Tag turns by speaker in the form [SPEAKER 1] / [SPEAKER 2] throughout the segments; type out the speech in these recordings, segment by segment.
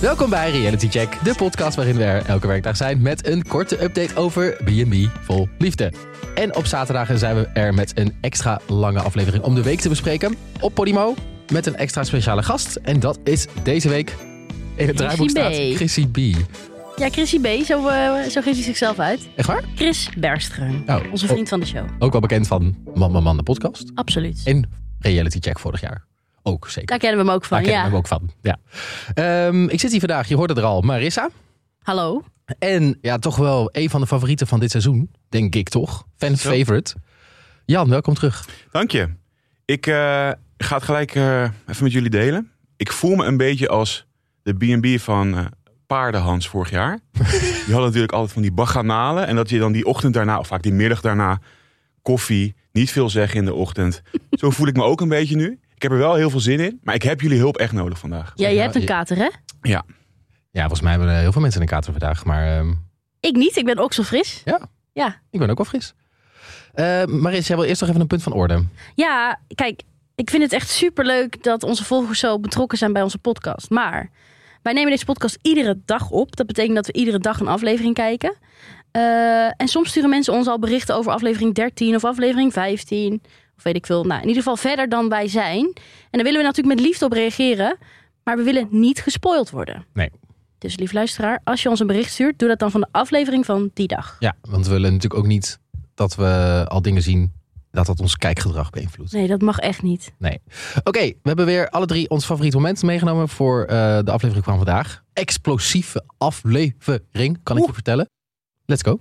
[SPEAKER 1] Welkom bij Reality Check, de podcast waarin we er elke werkdag zijn met een korte update over B&B vol liefde. En op zaterdagen zijn we er met een extra lange aflevering om de week te bespreken op Podimo met een extra speciale gast. En dat is deze week in het draaiboek
[SPEAKER 2] B.
[SPEAKER 1] staat Chrissy B.
[SPEAKER 2] Ja, Chrissy B, zo, eh, zo geeft hij zichzelf uit.
[SPEAKER 1] Echt waar?
[SPEAKER 2] Chris Bergström,
[SPEAKER 1] Oh,
[SPEAKER 2] onze vriend van de show.
[SPEAKER 1] ook wel bekend van Man Man Man de podcast
[SPEAKER 2] Absoluut.
[SPEAKER 1] en Reality Check vorig jaar. Ook zeker.
[SPEAKER 2] Daar kennen we hem ook van,
[SPEAKER 1] Daar kennen we
[SPEAKER 2] ja.
[SPEAKER 1] hem ook van. Ja. Ehm, ik zit hier vandaag, je hoorde er al, Marissa.
[SPEAKER 2] Hallo.
[SPEAKER 1] En ja, toch wel een van de favorieten van dit seizoen. Denk ik toch? Fan
[SPEAKER 3] Zo.
[SPEAKER 1] favorite. Jan, welkom terug.
[SPEAKER 3] Dank je. Ik eh, ga het gelijk eh, even met jullie delen. Ik voel me een beetje als de B&B van eh Paardenhans vorig jaar. Die hadden natuurlijk altijd van die baganalen. En dat je dan die ochtend daarna, of vaak die middag daarna, koffie, niet veel zeggen in de ochtend. Zo voel ik me ook een beetje nu. Ik heb er wel heel veel zin in, maar ik heb jullie hulp echt nodig vandaag.
[SPEAKER 2] Ja,
[SPEAKER 1] Zeg
[SPEAKER 2] je
[SPEAKER 1] maar,
[SPEAKER 2] hebt een
[SPEAKER 1] je-
[SPEAKER 2] kater, hè?
[SPEAKER 1] Ja, volgens mij hebben er heel veel mensen een kater vandaag. Maar ehm,
[SPEAKER 2] Ik niet, ik ben ook zo fris.
[SPEAKER 1] ik ben ook wel fris. Eh Maris, jij wil eerst nog even een punt van orde.
[SPEAKER 2] Ja, kijk, ik vind het echt superleuk dat onze volgers zo betrokken zijn bij onze podcast. Maar wij nemen deze podcast iedere dag op. Dat betekent dat we iedere dag een aflevering kijken. Eh, en soms sturen mensen ons al berichten over aflevering 13 of aflevering 15. Of weet ik veel. Nou, in ieder geval verder dan wij zijn. En daar willen we natuurlijk met liefde op reageren. Maar we willen niet gespoild worden.
[SPEAKER 1] Nee.
[SPEAKER 2] Dus lief luisteraar, als je ons een bericht stuurt, doe dat dan van de aflevering van die dag.
[SPEAKER 1] Ja, want we willen natuurlijk ook niet dat we al dingen zien dat dat ons kijkgedrag beïnvloedt.
[SPEAKER 2] Nee, dat mag echt niet.
[SPEAKER 1] Oké, we hebben weer alle drie ons favoriete moment meegenomen voor eh, de aflevering van vandaag. Explosieve aflevering, kan ik je vertellen. Let's go.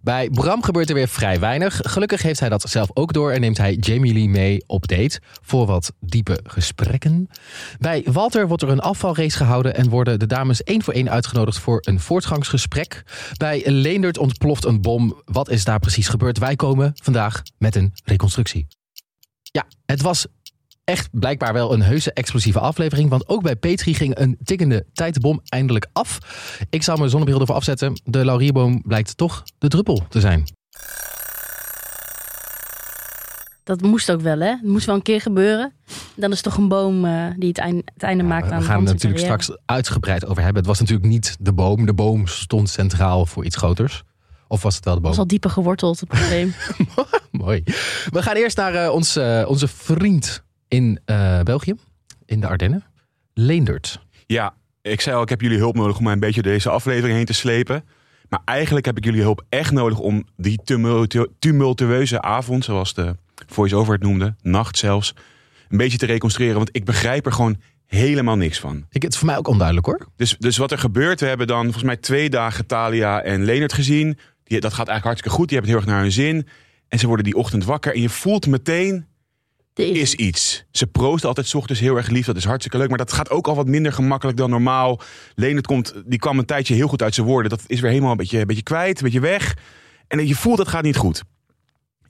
[SPEAKER 1] Bij Bram gebeurt er weer vrij weinig. Gelukkig heeft hij dat zelf ook door en neemt hij Jamie Lee mee op date voor wat diepe gesprekken. Bij Walter wordt er een afvalrace gehouden en worden de dames één voor één uitgenodigd voor een voortgangsgesprek. Bij Leendert ontploft een bom. Wat is daar precies gebeurd? Wij komen vandaag met een reconstructie. Ja, het was echt blijkbaar wel een heuse explosieve aflevering, want ook bij Petri ging een tikkende tijdbom eindelijk af. Ik zal mijn zonnebril ervoor afzetten. De laurierboom blijkt toch de druppel te zijn.
[SPEAKER 2] Dat moest ook wel, hè? Het moest wel een keer gebeuren. Dan is het toch een boom eh, die het einde, het einde
[SPEAKER 1] Ja,
[SPEAKER 2] maakt
[SPEAKER 1] we
[SPEAKER 2] aan
[SPEAKER 1] we
[SPEAKER 2] de
[SPEAKER 1] gaan het
[SPEAKER 2] Hanse
[SPEAKER 1] natuurlijk
[SPEAKER 2] carrière.
[SPEAKER 1] straks uitgebreid over hebben. Het was natuurlijk niet de boom. De boom stond centraal voor iets groters. Of was het wel de
[SPEAKER 2] Dat
[SPEAKER 1] boom?
[SPEAKER 2] is al dieper geworteld, het probleem.
[SPEAKER 1] Mooi. We gaan eerst naar eh, ons, eh, onze vriend in eh, België, in de Ardennen. Leendert.
[SPEAKER 3] Ja, ik zei al, ik heb jullie hulp nodig om mij een beetje door deze aflevering heen te slepen. Maar eigenlijk heb ik jullie hulp echt nodig om die tumultu- tumultueuze avond, zoals de voice-over het noemde, nacht zelfs, een beetje te reconstrueren. Want ik begrijp er gewoon helemaal niks van.
[SPEAKER 1] Ik, het is voor mij ook onduidelijk hoor.
[SPEAKER 3] Dus, dus wat er gebeurt, we hebben dan volgens mij twee dagen Thalia en Leonard gezien. Die, dat gaat eigenlijk hartstikke goed, die hebben het heel erg naar hun zin. En ze worden die ochtend wakker en je voelt meteen,
[SPEAKER 2] Er is-
[SPEAKER 3] is iets. Ze proosten altijd 's ochtends heel erg lief. Dat is hartstikke leuk. Maar dat gaat ook al wat minder gemakkelijk dan normaal. Leendert komt, die kwam een tijdje heel goed uit zijn woorden. Dat is weer helemaal een beetje, een beetje kwijt, een beetje weg. En je voelt dat gaat niet goed.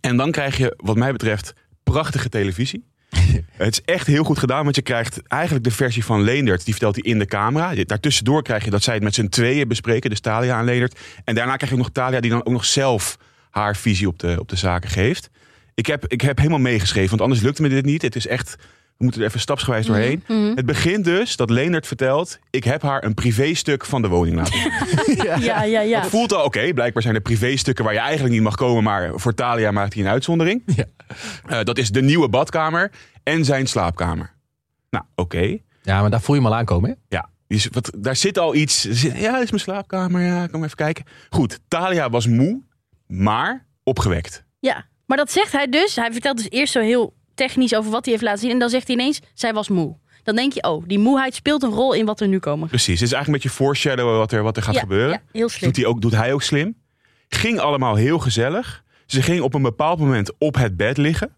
[SPEAKER 3] En dan krijg je, wat mij betreft, prachtige televisie. Het is echt heel goed gedaan, want je krijgt eigenlijk de versie van Leendert. Die vertelt hij in de camera. Daartussendoor krijg je dat zij het met z'n tweeën bespreken. Dus Talia en Leendert. En daarna krijg je ook nog Talia die dan ook nog zelf haar visie op de, op de zaken geeft. Ik heb, ik heb helemaal meegeschreven, want anders lukt me dit niet. Het is echt, we moeten er even stapsgewijs doorheen.
[SPEAKER 2] Mhm.
[SPEAKER 3] Het begint dus dat Leendert vertelt... ik heb haar een privéstuk van de woning laten zien.
[SPEAKER 2] Ja, ja, ja.
[SPEAKER 3] Het voelt al, oké, blijkbaar zijn er privéstukken waar je eigenlijk niet mag komen... maar voor Talia maakt hij een uitzondering.
[SPEAKER 1] Ja.
[SPEAKER 3] Eh, dat is de nieuwe badkamer en zijn slaapkamer. Nou, oké.
[SPEAKER 1] Ja, maar daar voel je hem al aankomen. Hè?
[SPEAKER 3] Ja, die is- wat, daar zit al iets. er zit- ja, dit is mijn slaapkamer. Ja, kom even kijken. Goed, Talia was moe, maar opgewekt.
[SPEAKER 2] Ja, maar dat zegt hij dus. Hij vertelt dus eerst zo heel technisch over wat hij heeft laten zien. En dan zegt hij ineens, zij was moe. Dan denk je, oh, die moeheid speelt een rol in wat er nu komen. gaat.
[SPEAKER 3] Precies, het is eigenlijk een beetje foreshadowen wat er, wat er gaat
[SPEAKER 2] ja,
[SPEAKER 3] gebeuren.
[SPEAKER 2] Ja, heel slim.
[SPEAKER 3] Doet hij, ook, doet hij ook slim. Ging allemaal heel gezellig. Ze ging op een bepaald moment op het bed liggen.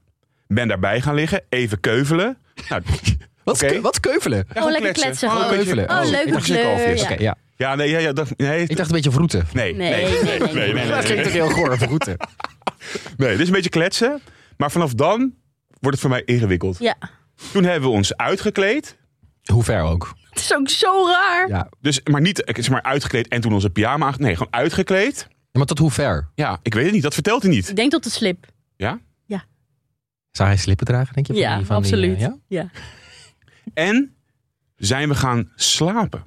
[SPEAKER 3] Ben daarbij gaan liggen, even keuvelen. Nou,
[SPEAKER 1] Wat, is
[SPEAKER 3] Oké.
[SPEAKER 1] ke- wat is keuvelen?
[SPEAKER 3] ja,
[SPEAKER 2] Oh, lekker kletsen,
[SPEAKER 3] Gewoon
[SPEAKER 2] gewoon.
[SPEAKER 3] een beetje-
[SPEAKER 1] Keuvelen. Oh,
[SPEAKER 3] ik
[SPEAKER 2] leuke
[SPEAKER 3] dacht zeekalfjes.
[SPEAKER 2] kleur, ja.
[SPEAKER 1] Oké, ja.
[SPEAKER 3] Ja, nee, ja, ja, dat- nee,
[SPEAKER 1] Ik dacht een beetje vroeten.
[SPEAKER 3] nee,
[SPEAKER 2] Nee,
[SPEAKER 3] nee,
[SPEAKER 2] nee, nee, nee.
[SPEAKER 1] Dat klinkt toch heel goor, vroeten.
[SPEAKER 3] Nee, dit is een beetje kletsen. Maar vanaf dan wordt het voor mij ingewikkeld.
[SPEAKER 2] Ja,
[SPEAKER 3] Toen hebben we ons uitgekleed.
[SPEAKER 1] Hoe ver ook.
[SPEAKER 2] Het is ook zo raar.
[SPEAKER 1] Ja.
[SPEAKER 3] Dus, maar niet eh, zeg maar, uitgekleed en toen onze pyjama aan. Nee, gewoon uitgekleed.
[SPEAKER 1] Maar tot hoe ver?
[SPEAKER 3] Ja, ik weet het niet. Dat vertelt hij niet.
[SPEAKER 2] Ik denk tot de slip.
[SPEAKER 1] Zou hij slippen dragen, denk je? Van
[SPEAKER 2] Ja,
[SPEAKER 1] die- van die,
[SPEAKER 2] absoluut.
[SPEAKER 1] eh, ja?
[SPEAKER 2] ja?
[SPEAKER 3] En zijn we gaan slapen.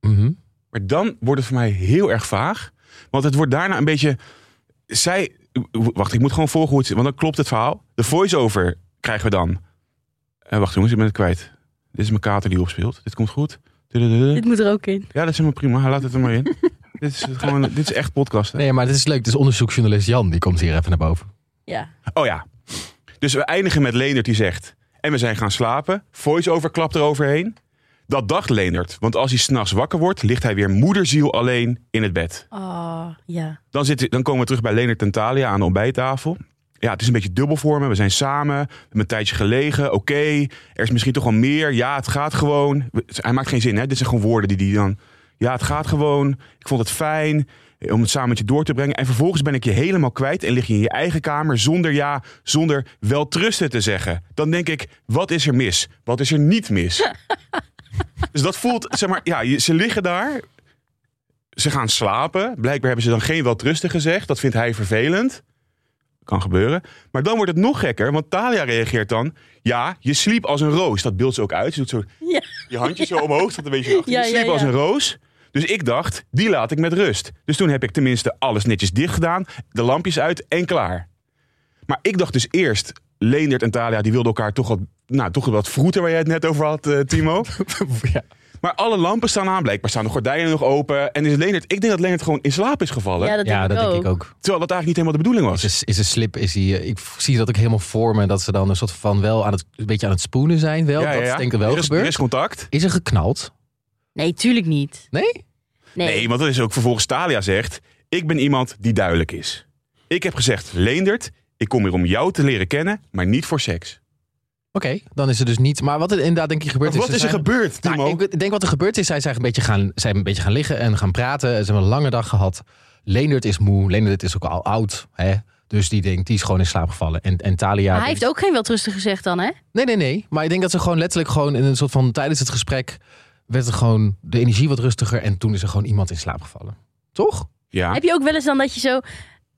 [SPEAKER 1] Mhm.
[SPEAKER 3] Maar dan wordt het voor mij heel erg vaag. Want het wordt daarna een beetje. Zij. Wacht, ik moet gewoon volgen hoe het zit. Want dan klopt het verhaal. De voice-over krijgen we dan. Eh, wacht jongens, ik ben het kwijt. Dit is mijn kater die opspeelt. Dit komt goed. Tudududu.
[SPEAKER 2] Dit moet er ook in.
[SPEAKER 3] Ja, dat is helemaal prima. Hij laat het er maar in. dit, is het gewoon, dit is echt podcast. hè?
[SPEAKER 1] Nee, maar dit is leuk. Dit is onderzoeksjournalist Jan. Die komt hier even naar boven.
[SPEAKER 2] Ja.
[SPEAKER 3] Oh ja. Dus we eindigen met Leendert die zegt. En we zijn gaan slapen. Voice-over klapt eroverheen. Dat dacht Leendert. Want als hij s'nachts wakker wordt, ligt hij weer moederziel alleen in het bed.
[SPEAKER 2] Oh, ja.
[SPEAKER 3] Dan, zitten, dan komen we terug bij Leonard Tentalia aan de ontbijttafel. Ja, het is een beetje dubbel voor me. We zijn samen. We hebben een tijdje gelegen. Oké, er is misschien toch wel meer. Ja, het gaat gewoon. We- Hij maakt geen zin, hè? Dit zijn gewoon woorden die hij dan... Ja, het gaat gewoon. Ik vond het fijn om het samen met je door te brengen. En vervolgens ben ik je helemaal kwijt en lig je in je eigen kamer zonder ja, zonder wel trusten te zeggen. Dan denk ik, wat is er mis? Wat is er niet mis? dus dat voelt, zeg maar, ja, je- ze liggen daar ze gaan slapen. Blijkbaar hebben ze dan geen weltrusten gezegd. Dat vindt hij vervelend. Kan gebeuren. Maar dan wordt het nog gekker, want Talia reageert dan... Ja, je sliep als een roos. Dat beeld ze ook uit. Ze doet zo
[SPEAKER 2] Ja.
[SPEAKER 3] je handjes zo omhoog, staat een beetje achter.
[SPEAKER 2] Ja,
[SPEAKER 3] je sliep
[SPEAKER 2] ja, ja.
[SPEAKER 3] als een roos. Dus ik dacht, die laat ik met rust. Dus toen heb ik tenminste alles netjes dicht gedaan. De lampjes uit en klaar. Maar ik dacht dus eerst... Leendert en Talia, die wilden elkaar toch wat... Nou, toch wat vroeter waar jij het net over had, eh, Timo.
[SPEAKER 1] ja.
[SPEAKER 3] Maar alle lampen staan aan, blijkbaar staan de gordijnen nog open. En is Leendert, ik denk dat Leendert gewoon in slaap is gevallen.
[SPEAKER 2] Ja, dat,
[SPEAKER 1] ja,
[SPEAKER 2] denk,
[SPEAKER 1] dat
[SPEAKER 2] ik
[SPEAKER 1] denk
[SPEAKER 2] ook.
[SPEAKER 1] ik ook.
[SPEAKER 3] Terwijl dat eigenlijk niet helemaal de bedoeling was.
[SPEAKER 1] Is een, is een slip, is die, eh, ik v- zie dat ook helemaal voor me. Dat ze dan een soort van wel aan het, een beetje aan het spoenen zijn. Wel, dat is denk ik wel
[SPEAKER 3] er is,
[SPEAKER 1] gebeurd.
[SPEAKER 3] Er
[SPEAKER 1] Is,
[SPEAKER 3] is contact.
[SPEAKER 1] er geknald?
[SPEAKER 2] Nee, tuurlijk niet.
[SPEAKER 1] Nee?
[SPEAKER 2] Nee.
[SPEAKER 3] Nee, want dat is ook vervolgens Talia zegt, ik ben iemand die duidelijk is. Ik heb gezegd, Leendert, ik kom hier om jou te leren kennen, maar niet voor seks.
[SPEAKER 1] Oké, dan is er dus niet. Maar wat er inderdaad denk ik gebeurd
[SPEAKER 3] Want
[SPEAKER 1] is...
[SPEAKER 3] wat
[SPEAKER 1] ze
[SPEAKER 3] is er
[SPEAKER 1] zijn-
[SPEAKER 3] gebeurd,
[SPEAKER 1] Nou,
[SPEAKER 3] Timo?
[SPEAKER 1] ik denk wat er gebeurd is, zij zijn een beetje gaan, zijn een beetje gaan liggen en gaan praten. Ze hebben een lange dag gehad. Leendert is moe. Leendert is ook al oud. Hè? Dus die denkt, die is gewoon in slaap gevallen. En, en Talia...
[SPEAKER 2] Maar
[SPEAKER 1] denkt-
[SPEAKER 2] hij heeft ook geen weltrusten gezegd dan, hè?
[SPEAKER 1] Nee, nee, nee. Maar ik denk dat ze gewoon letterlijk gewoon in een soort van... Tijdens het gesprek werd er gewoon de energie wat rustiger. En toen is er gewoon iemand in slaap gevallen. Toch?
[SPEAKER 3] ja.
[SPEAKER 2] Heb je ook wel eens dan dat je zo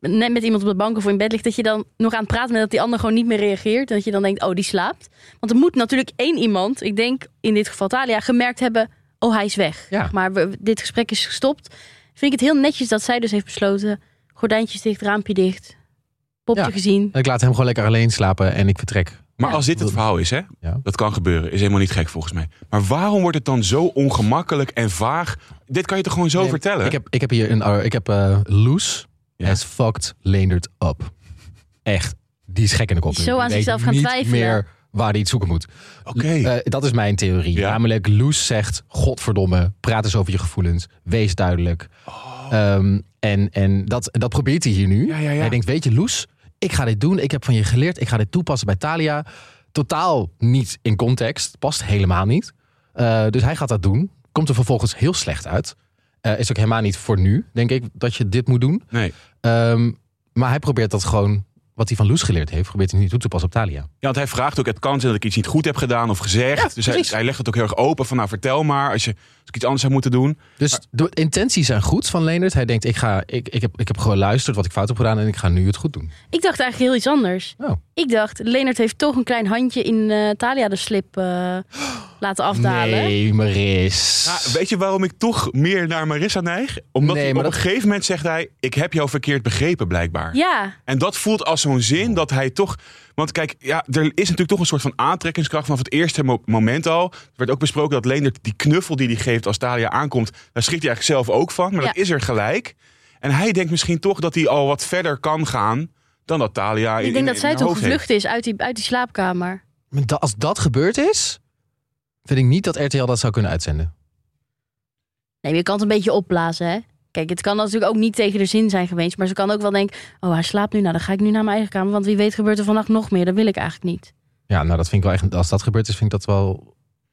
[SPEAKER 2] net met iemand op de bank of in bed ligt... dat je dan nog aan het praten bent dat die ander gewoon niet meer reageert... en dat je dan denkt, oh, die slaapt? Want er moet natuurlijk één iemand, ik denk in dit geval Talia... gemerkt hebben, oh, hij is weg.
[SPEAKER 1] Ja.
[SPEAKER 2] Maar we- dit gesprek is gestopt. Vind ik het heel netjes dat zij dus heeft besloten... gordijntjes dicht, raampje dicht, popje
[SPEAKER 1] Ja.
[SPEAKER 2] gezien.
[SPEAKER 1] En ik laat hem gewoon lekker alleen slapen en ik vertrek.
[SPEAKER 3] Maar
[SPEAKER 2] Ja.
[SPEAKER 3] als dit het verhaal is, hè,
[SPEAKER 1] Ja.
[SPEAKER 3] dat kan gebeuren. Is helemaal niet gek volgens mij. Maar waarom wordt het dan zo ongemakkelijk en vaag? Dit kan je toch gewoon zo
[SPEAKER 1] Nee,
[SPEAKER 3] vertellen?
[SPEAKER 1] Ik heb, ik heb hier een... uh, ik heb eh, Loes
[SPEAKER 3] Ja.
[SPEAKER 1] has fucked Leendert up. Echt. Die is gek in de kop.
[SPEAKER 2] Die is
[SPEAKER 1] nu.
[SPEAKER 2] zo aan
[SPEAKER 1] Die weet
[SPEAKER 2] zichzelf gaan
[SPEAKER 1] niet
[SPEAKER 2] twijfelen.
[SPEAKER 1] meer waar hij het zoeken moet.
[SPEAKER 3] Oké.
[SPEAKER 1] Eh, dat is mijn theorie.
[SPEAKER 3] Ja.
[SPEAKER 1] Namelijk, Loes zegt: Godverdomme, praat eens over je gevoelens. Wees duidelijk. Ehm, en en dat, dat probeert hij hier nu.
[SPEAKER 3] Ja, ja, ja.
[SPEAKER 1] Hij denkt: Weet je, Loes, ik ga dit doen. Ik heb van je geleerd. Ik ga dit toepassen bij Talia. Totaal niet in context. Past helemaal niet. Eh, dus hij gaat dat doen. Komt er vervolgens heel slecht uit. Eh, is ook helemaal niet voor nu, denk ik, dat je dit moet doen.
[SPEAKER 3] Nee.
[SPEAKER 1] Ehm, maar hij probeert dat gewoon, wat hij van Loes geleerd heeft, probeert hij nu toe te passen op Talia.
[SPEAKER 3] Ja, want hij vraagt ook, het kan zijn dat ik iets niet goed heb gedaan of gezegd.
[SPEAKER 1] Ja,
[SPEAKER 3] dus hij,
[SPEAKER 1] precies.
[SPEAKER 3] hij legt het ook heel erg open van, nou vertel maar, als, je, als ik iets anders zou moeten doen.
[SPEAKER 1] Dus de intenties zijn goed van Leendert. Hij denkt, ik, ga, ik, ik, heb, ik heb geluisterd wat ik fout heb gedaan en ik ga nu het goed doen.
[SPEAKER 2] Ik dacht eigenlijk heel iets anders.
[SPEAKER 1] Oh.
[SPEAKER 2] Ik dacht, Leonard heeft toch een klein handje in eh Talia de slip eh, laten afdalen.
[SPEAKER 1] Nee, Maris.
[SPEAKER 3] Ja, Nou, weet je waarom ik toch meer naar Marissa neig? Omdat
[SPEAKER 1] Nee,
[SPEAKER 3] hij op
[SPEAKER 1] maar
[SPEAKER 3] een
[SPEAKER 1] dat-
[SPEAKER 3] gegeven moment zegt hij, ik heb jou verkeerd begrepen blijkbaar.
[SPEAKER 2] Ja,
[SPEAKER 3] En dat voelt als zo'n zin dat hij toch... Want kijk, ja, er is natuurlijk toch een soort van aantrekkingskracht vanaf het eerste mo- moment al. Er werd ook besproken dat Leendert die knuffel die hij geeft als Talia aankomt... daar schrikt hij eigenlijk zelf ook van, maar
[SPEAKER 2] Ja.
[SPEAKER 3] dat is er gelijk. En hij denkt misschien toch dat hij al wat verder kan gaan... dan dat Talia in-
[SPEAKER 2] ik
[SPEAKER 3] Ah, in-
[SPEAKER 2] denk dat
[SPEAKER 3] in
[SPEAKER 2] zij
[SPEAKER 3] haar
[SPEAKER 2] toen
[SPEAKER 3] hoofd heeft.
[SPEAKER 2] gevlucht is uit die, uit die slaapkamer.
[SPEAKER 1] Maar da- als dat gebeurd is, vind ik niet dat RTL dat zou kunnen uitzenden.
[SPEAKER 2] Nee, je kan het een beetje opblazen, hè? Kijk, het kan natuurlijk ook niet tegen de zin zijn geweest. Maar ze kan ook wel denken, oh, hij slaapt nu. Nou, dan ga ik nu naar mijn eigen kamer. Want wie weet gebeurt er vannacht nog meer. Dat wil ik eigenlijk niet.
[SPEAKER 1] Ja, nou dat vind ik wel echt, als dat gebeurd is, vind ik dat wel...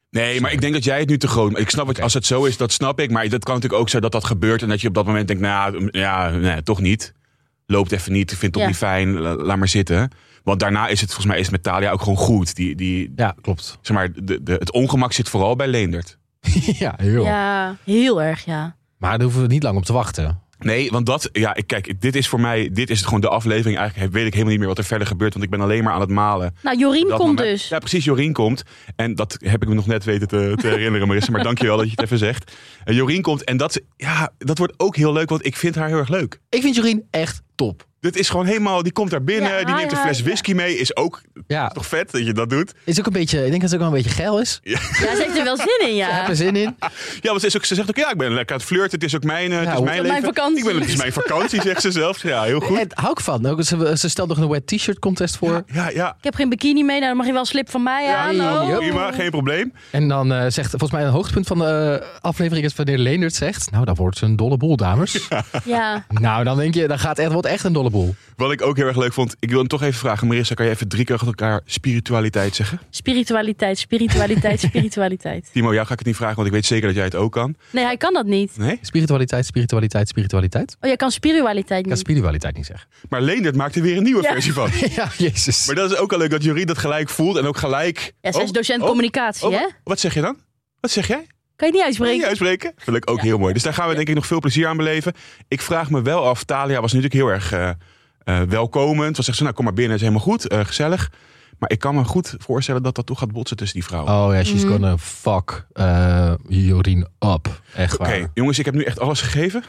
[SPEAKER 3] Nee, maar ik denk dat jij het nu te groot. Ik snap het, als het zo is, dat snap ik. Maar dat kan natuurlijk ook zo dat dat gebeurt en dat je op dat moment denkt, nou ja, ja nee, toch niet. loopt even niet, vindt toch
[SPEAKER 2] Ja.
[SPEAKER 3] niet fijn, la- laat maar zitten. Want daarna is het volgens mij is het met Thalia ook gewoon goed. Die, die,
[SPEAKER 1] Ja, klopt.
[SPEAKER 3] zeg maar, de, de, het ongemak zit vooral bij Leendert.
[SPEAKER 1] ja, heel.
[SPEAKER 2] Ja, heel erg, ja.
[SPEAKER 1] Maar daar hoeven we niet lang op te wachten.
[SPEAKER 3] Nee, want dat, ja, ik- kijk, dit is voor mij, dit is gewoon de aflevering. Eigenlijk weet ik helemaal niet meer wat er verder gebeurt, want ik ben alleen maar aan het malen.
[SPEAKER 2] Nou, Jorien
[SPEAKER 3] Dat
[SPEAKER 2] komt
[SPEAKER 3] moment-
[SPEAKER 2] dus.
[SPEAKER 3] Ja, precies, Jorien komt. En dat heb ik me nog net weten te, te herinneren, Marissa. Maar dankjewel dat je het even zegt. En Jorien komt en dat, ja, dat wordt ook heel leuk, want ik vind haar heel erg leuk.
[SPEAKER 1] Ik vind Jorien echt top.
[SPEAKER 3] Dit is gewoon helemaal, die komt daar binnen,
[SPEAKER 2] Ja,
[SPEAKER 3] die neemt
[SPEAKER 2] hi,
[SPEAKER 3] een fles
[SPEAKER 2] hi.
[SPEAKER 3] whisky mee. Is ook
[SPEAKER 1] Ja,
[SPEAKER 3] toch vet dat je dat doet?
[SPEAKER 1] is ook een beetje, ik denk dat ze ook wel een beetje geil is.
[SPEAKER 2] Ja, ze heeft er wel zin in,
[SPEAKER 1] Ik
[SPEAKER 2] ja.
[SPEAKER 1] heb er zin in.
[SPEAKER 3] Ja, want ze, is ook, ze zegt ook, ja, ik ben lekker aan het flirten. Het is ook mijn, eh, het
[SPEAKER 1] Ja,
[SPEAKER 3] is
[SPEAKER 1] hoe-
[SPEAKER 3] mijn
[SPEAKER 1] Mijn
[SPEAKER 3] leven.
[SPEAKER 2] vakantie.
[SPEAKER 3] Ik ben, het is mijn vakantie, zegt ze zelf. Ja, heel goed.
[SPEAKER 1] En hou ik van. Ook, ze, ze stelt nog een wet t-shirt contest voor.
[SPEAKER 3] Ja, ja.
[SPEAKER 2] Ik heb geen bikini mee, nou dan mag je wel een slip van mij aan.
[SPEAKER 1] ja,
[SPEAKER 2] oh.
[SPEAKER 1] ja.
[SPEAKER 3] Prima, geen probleem.
[SPEAKER 1] En dan eh, zegt, volgens mij een hoogtepunt van de eh, aflevering is wanneer Leendert zegt... Nou, dat wordt een dolle boel, dames.
[SPEAKER 2] Ja.
[SPEAKER 1] Nou, dan denk je, dat gaat echt, wordt echt een dolle boel.
[SPEAKER 3] Wat ik ook heel erg leuk vond, ik wil hem toch even vragen. Marissa, kan je even drie keer achter elkaar spiritualiteit zeggen?
[SPEAKER 2] Spiritualiteit, spiritualiteit, spiritualiteit.
[SPEAKER 3] Timo, jou ga ik het niet vragen, want ik weet zeker dat jij het ook kan.
[SPEAKER 2] Nee, hij kan dat niet.
[SPEAKER 3] Nee?
[SPEAKER 1] Spiritualiteit, spiritualiteit, spiritualiteit.
[SPEAKER 2] Oh, jij kan spiritualiteit
[SPEAKER 1] Ik kan
[SPEAKER 2] niet.
[SPEAKER 1] spiritualiteit niet zeggen.
[SPEAKER 3] Maar Leendert maakt er weer een nieuwe
[SPEAKER 2] Ja.
[SPEAKER 3] versie van.
[SPEAKER 1] ja, jezus.
[SPEAKER 3] Maar dat is ook al leuk dat Jorien dat gelijk voelt en ook gelijk...
[SPEAKER 2] Ja, zij is
[SPEAKER 3] Oh,
[SPEAKER 2] docent
[SPEAKER 3] oh,
[SPEAKER 2] communicatie,
[SPEAKER 3] oh,
[SPEAKER 2] hè?
[SPEAKER 3] Wat zeg je dan? Wat zeg jij?
[SPEAKER 2] Kan je niet
[SPEAKER 3] Wil je
[SPEAKER 2] uitspreken?
[SPEAKER 3] uitspreken? Vind ik ook
[SPEAKER 2] Ja.
[SPEAKER 3] heel mooi. Dus daar gaan we denk ik nog veel plezier aan beleven. Ik vraag me wel af, Talia was natuurlijk heel erg eh, eh, welkomend. Ze zegt ze, nou kom maar binnen, is helemaal goed, eh, gezellig. Maar ik kan me goed voorstellen dat dat toch gaat botsen tussen die vrouwen.
[SPEAKER 1] Oh ja, she's
[SPEAKER 2] Mm.
[SPEAKER 1] gonna fuck eh, Jorien up. Echt
[SPEAKER 3] Oké,
[SPEAKER 1] Oh, waar.
[SPEAKER 3] jongens, ik heb nu echt alles gegeven.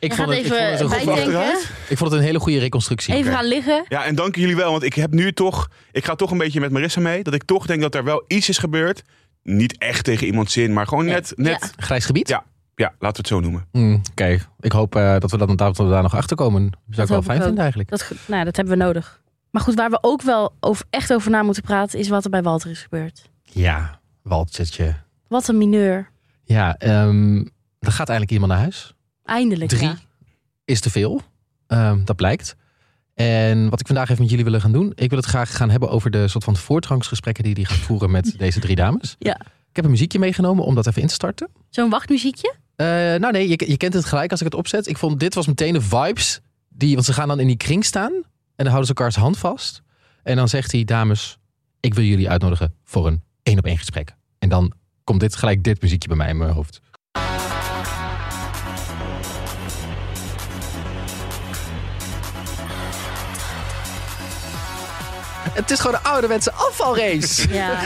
[SPEAKER 1] Ik,
[SPEAKER 2] Je
[SPEAKER 1] vond
[SPEAKER 2] gaat
[SPEAKER 1] het, ik, vond het
[SPEAKER 2] even
[SPEAKER 1] een
[SPEAKER 3] bij-
[SPEAKER 1] goed-
[SPEAKER 2] bijdenken,
[SPEAKER 3] achteruit.
[SPEAKER 1] ik vond het een hele goede reconstructie.
[SPEAKER 2] even
[SPEAKER 3] Oké.
[SPEAKER 2] gaan liggen.
[SPEAKER 3] Ja, en dank jullie wel, want ik heb nu toch... Ik ga toch een beetje met Marissa mee. Dat ik toch denk dat er wel iets is gebeurd. Niet echt tegen iemands zin, maar gewoon
[SPEAKER 2] Nee.
[SPEAKER 3] net... net
[SPEAKER 1] Grijs gebied?
[SPEAKER 3] Ja. ja. laten we het zo noemen.
[SPEAKER 1] Mm, Oké, ik hoop eh, dat we dan, dat we daar nog achter komen. Zou ik wel
[SPEAKER 2] hoop ik
[SPEAKER 1] fijn
[SPEAKER 2] ook.
[SPEAKER 1] vinden eigenlijk.
[SPEAKER 2] Dat, ge- nou, dat hebben we nodig. Maar goed, waar we ook wel over, echt over na moeten praten, is wat er bij Walter is gebeurd.
[SPEAKER 1] Ja, Waltzetje.
[SPEAKER 2] Wat een mineur.
[SPEAKER 1] Ja, ehm er gaat eigenlijk iemand naar huis.
[SPEAKER 2] Eindelijk.
[SPEAKER 1] Drie
[SPEAKER 2] ja.
[SPEAKER 1] is te veel. Ehm, dat blijkt. En wat ik vandaag even met jullie willen gaan doen. Ik wil het graag gaan hebben over de soort van voortgangsgesprekken die hij gaat voeren met deze drie dames.
[SPEAKER 2] Ja.
[SPEAKER 1] Ik heb een muziekje meegenomen om dat even in te starten.
[SPEAKER 2] Zo'n wachtmuziekje?
[SPEAKER 1] Eh, nou nee, je, je kent het gelijk als ik het opzet. Ik vond dit was meteen de vibes. Die, want ze gaan dan in die kring staan. En dan houden ze elkaars hand vast. En dan zegt hij, dames, ik wil jullie uitnodigen voor een één op één gesprek. En dan komt dit gelijk dit muziekje bij mij in mijn hoofd. Het is gewoon een ouderwetse afvalrace.
[SPEAKER 2] Ja.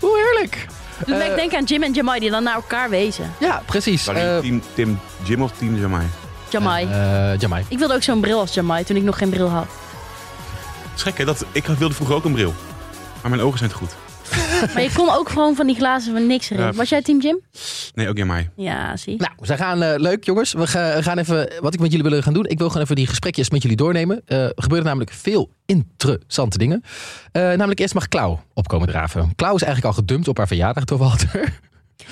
[SPEAKER 1] Hoe heerlijk.
[SPEAKER 2] Doet mij denken aan Jim en Jamai die dan naar elkaar wezen.
[SPEAKER 1] Ja, precies.
[SPEAKER 3] Sorry,
[SPEAKER 1] Eh,
[SPEAKER 3] team, Tim, Jim of Team Jamai?
[SPEAKER 2] Jamai.
[SPEAKER 1] eh, Jamai.
[SPEAKER 2] ik wilde ook zo'n bril als Jamai toen ik nog geen bril had.
[SPEAKER 3] Het is gek, hè? Dat, ik wilde vroeger ook een bril. Maar mijn ogen zijn te goed.
[SPEAKER 2] Maar je kon ook gewoon van die glazen van niks erin.
[SPEAKER 3] Ja.
[SPEAKER 2] Was jij team Jim?
[SPEAKER 3] Nee, ook Jamai.
[SPEAKER 2] Ja, zie.
[SPEAKER 1] Nou, ze gaan eh, leuk, jongens. We ga- gaan even wat ik met jullie willen gaan doen. Ik wil gewoon even die gesprekjes met jullie doornemen. Eh, er gebeuren namelijk veel interessante dingen. Eh, namelijk eerst mag Klauw opkomen draven. Klauw is eigenlijk al gedumpt op haar verjaardag door Walter.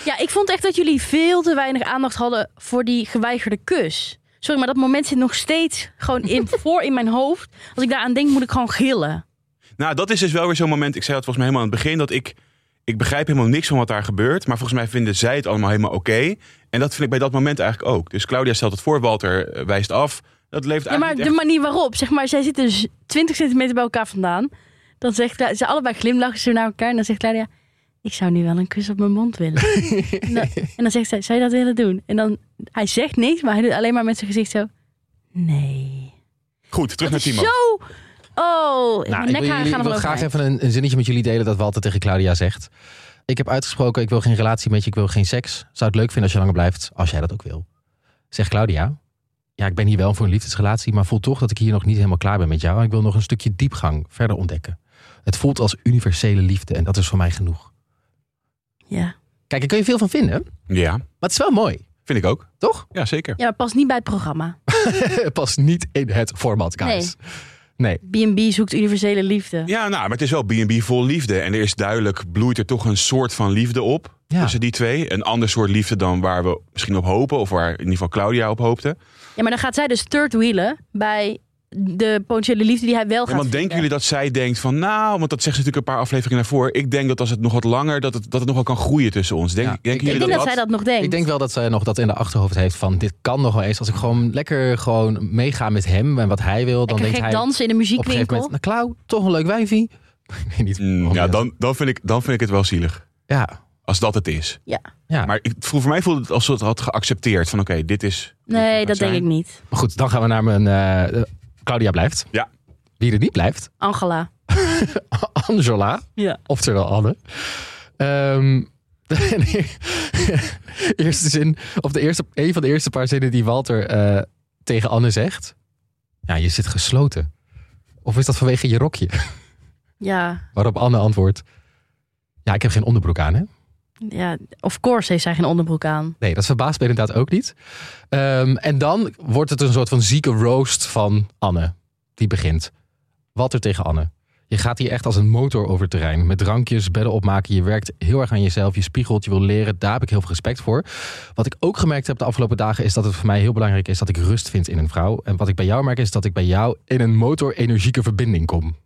[SPEAKER 2] Ja, ik vond echt dat jullie veel te weinig aandacht hadden voor die geweigerde kus. Sorry, maar dat moment zit nog steeds gewoon in, voor in mijn hoofd. Als ik daaraan denk, moet ik gewoon gillen.
[SPEAKER 3] Nou, dat is dus wel weer zo'n moment. Ik zei dat volgens mij helemaal aan het begin. Dat ik, ik begrijp helemaal niks van wat daar gebeurt. Maar volgens mij vinden zij het allemaal helemaal oké. En dat vind ik bij dat moment eigenlijk ook. Dus Claudia stelt het voor, Walter eh, wijst af. Dat levert
[SPEAKER 2] Ja, maar
[SPEAKER 3] eigenlijk
[SPEAKER 2] de
[SPEAKER 3] niet
[SPEAKER 2] manier waarop, zeg maar, zij zitten dus 20 centimeter bij elkaar vandaan. Dan zegt Cla- ze allebei glimlachen ze naar elkaar en dan zegt Claudia, ik zou nu wel een kus op mijn mond willen. en, dan, en dan zegt zij, zou je dat willen doen? En dan, hij zegt niks, maar hij doet alleen maar met zijn gezicht zo, nee.
[SPEAKER 3] echt- Goed, terug naar
[SPEAKER 2] Dat is
[SPEAKER 3] Timo.
[SPEAKER 2] zo... Oh,
[SPEAKER 1] Nou,
[SPEAKER 2] mijn
[SPEAKER 1] ik wil,
[SPEAKER 2] nekharen
[SPEAKER 1] jullie, ik
[SPEAKER 2] gaan
[SPEAKER 1] wil
[SPEAKER 2] er
[SPEAKER 1] graag
[SPEAKER 2] graag
[SPEAKER 1] even een, een zinnetje met jullie delen dat Walter tegen Claudia zegt. Ik heb uitgesproken, ik wil geen relatie met je, ik wil geen seks. Zou het leuk vinden als je langer blijft, als jij dat ook wil. Zegt Claudia, ja, ik ben hier wel voor een liefdesrelatie, maar voel toch dat ik hier nog niet helemaal klaar ben met jou. Ik wil nog een stukje diepgang verder ontdekken. Het voelt als universele liefde en dat is voor mij genoeg.
[SPEAKER 2] Ja.
[SPEAKER 1] Kijk, daar kun je veel van vinden. Maar
[SPEAKER 3] Ja,
[SPEAKER 1] het is wel mooi,
[SPEAKER 3] vind ik ook.
[SPEAKER 1] toch?
[SPEAKER 3] Ja, zeker.
[SPEAKER 2] ja, maar pas niet bij het programma.
[SPEAKER 1] Het past niet in het format, guys. Nee.
[SPEAKER 2] B&B zoekt universele liefde.
[SPEAKER 3] Ja, nou, maar het is wel B&B vol liefde. En er is duidelijk, bloeit er toch een soort van liefde op
[SPEAKER 1] Ja.
[SPEAKER 3] tussen die twee. Een ander soort liefde dan waar we misschien op hopen. Of waar in ieder geval Claudia op hoopte.
[SPEAKER 2] Ja, maar dan gaat zij dus third wheelen bij de potentiële liefde die hij wel gaat
[SPEAKER 3] En want denken
[SPEAKER 2] vinden.
[SPEAKER 3] jullie dat zij denkt van, nou, want dat zegt ze natuurlijk een paar afleveringen daarvoor. Ik denk dat als het nog wat langer, dat het, dat het nog wel kan groeien tussen ons. Denk,
[SPEAKER 1] Ja.
[SPEAKER 3] Denken
[SPEAKER 1] Ik
[SPEAKER 3] jullie
[SPEAKER 2] Ik denk dat
[SPEAKER 3] dat,
[SPEAKER 2] zij dat nog denkt.
[SPEAKER 1] Ik denk wel dat zij nog dat in de achterhoofd heeft van dit kan nog wel eens. Als ik gewoon lekker gewoon meega met hem en wat hij wil, dan
[SPEAKER 2] Lekker
[SPEAKER 1] denkt
[SPEAKER 2] gek
[SPEAKER 1] hij
[SPEAKER 2] dansen in een
[SPEAKER 1] op een gegeven
[SPEAKER 2] muziekwinkel.
[SPEAKER 1] moment, nou Klauw, toch een leuk wijfie. Ik weet niet.
[SPEAKER 3] Mm,
[SPEAKER 1] waarom
[SPEAKER 3] ja,
[SPEAKER 1] je dat-
[SPEAKER 3] dan, dan, vind ik, dan vind ik het wel zielig.
[SPEAKER 1] Ja,
[SPEAKER 3] Als dat het is.
[SPEAKER 2] Ja.
[SPEAKER 1] Ja.
[SPEAKER 3] Maar ik, voel- voor mij voelde het als ze het had geaccepteerd. Van oké, dit is...
[SPEAKER 1] nou,
[SPEAKER 3] dit
[SPEAKER 2] Nee,
[SPEAKER 3] moet
[SPEAKER 2] dat
[SPEAKER 3] zijn.
[SPEAKER 2] denk ik niet.
[SPEAKER 1] maar goed, dan gaan we naar mijn... eh, eh, Claudia blijft.
[SPEAKER 3] Ja.
[SPEAKER 1] Wie er niet blijft.
[SPEAKER 2] Angela.
[SPEAKER 1] Angela,
[SPEAKER 2] Ja.
[SPEAKER 1] oftewel Anne. Ehm, de eerste zin, of de eerste, een van de eerste paar zinnen die Walter eh, tegen Anne zegt. Ja, je zit gesloten. Of is dat vanwege je rokje?
[SPEAKER 2] Ja.
[SPEAKER 1] Waarop Anne antwoordt. Ja, ik heb geen onderbroek aan, hè?
[SPEAKER 2] ja. Of course heeft zij geen onderbroek aan.
[SPEAKER 1] Nee, dat verbaast me inderdaad ook niet. Ehm, en dan wordt het een soort van zieke roast van Anne. Die begint. Wat er tegen Anne. Je gaat hier echt als een motor over het terrein. Met drankjes, bedden opmaken. Je werkt heel erg aan jezelf. Je spiegelt, je wil leren. Daar heb ik heel veel respect voor. Wat ik ook gemerkt heb de afgelopen dagen... is dat het voor mij heel belangrijk is dat ik rust vind in een vrouw. En wat ik bij jou merk is dat ik bij jou... in een motor-energieke verbinding kom.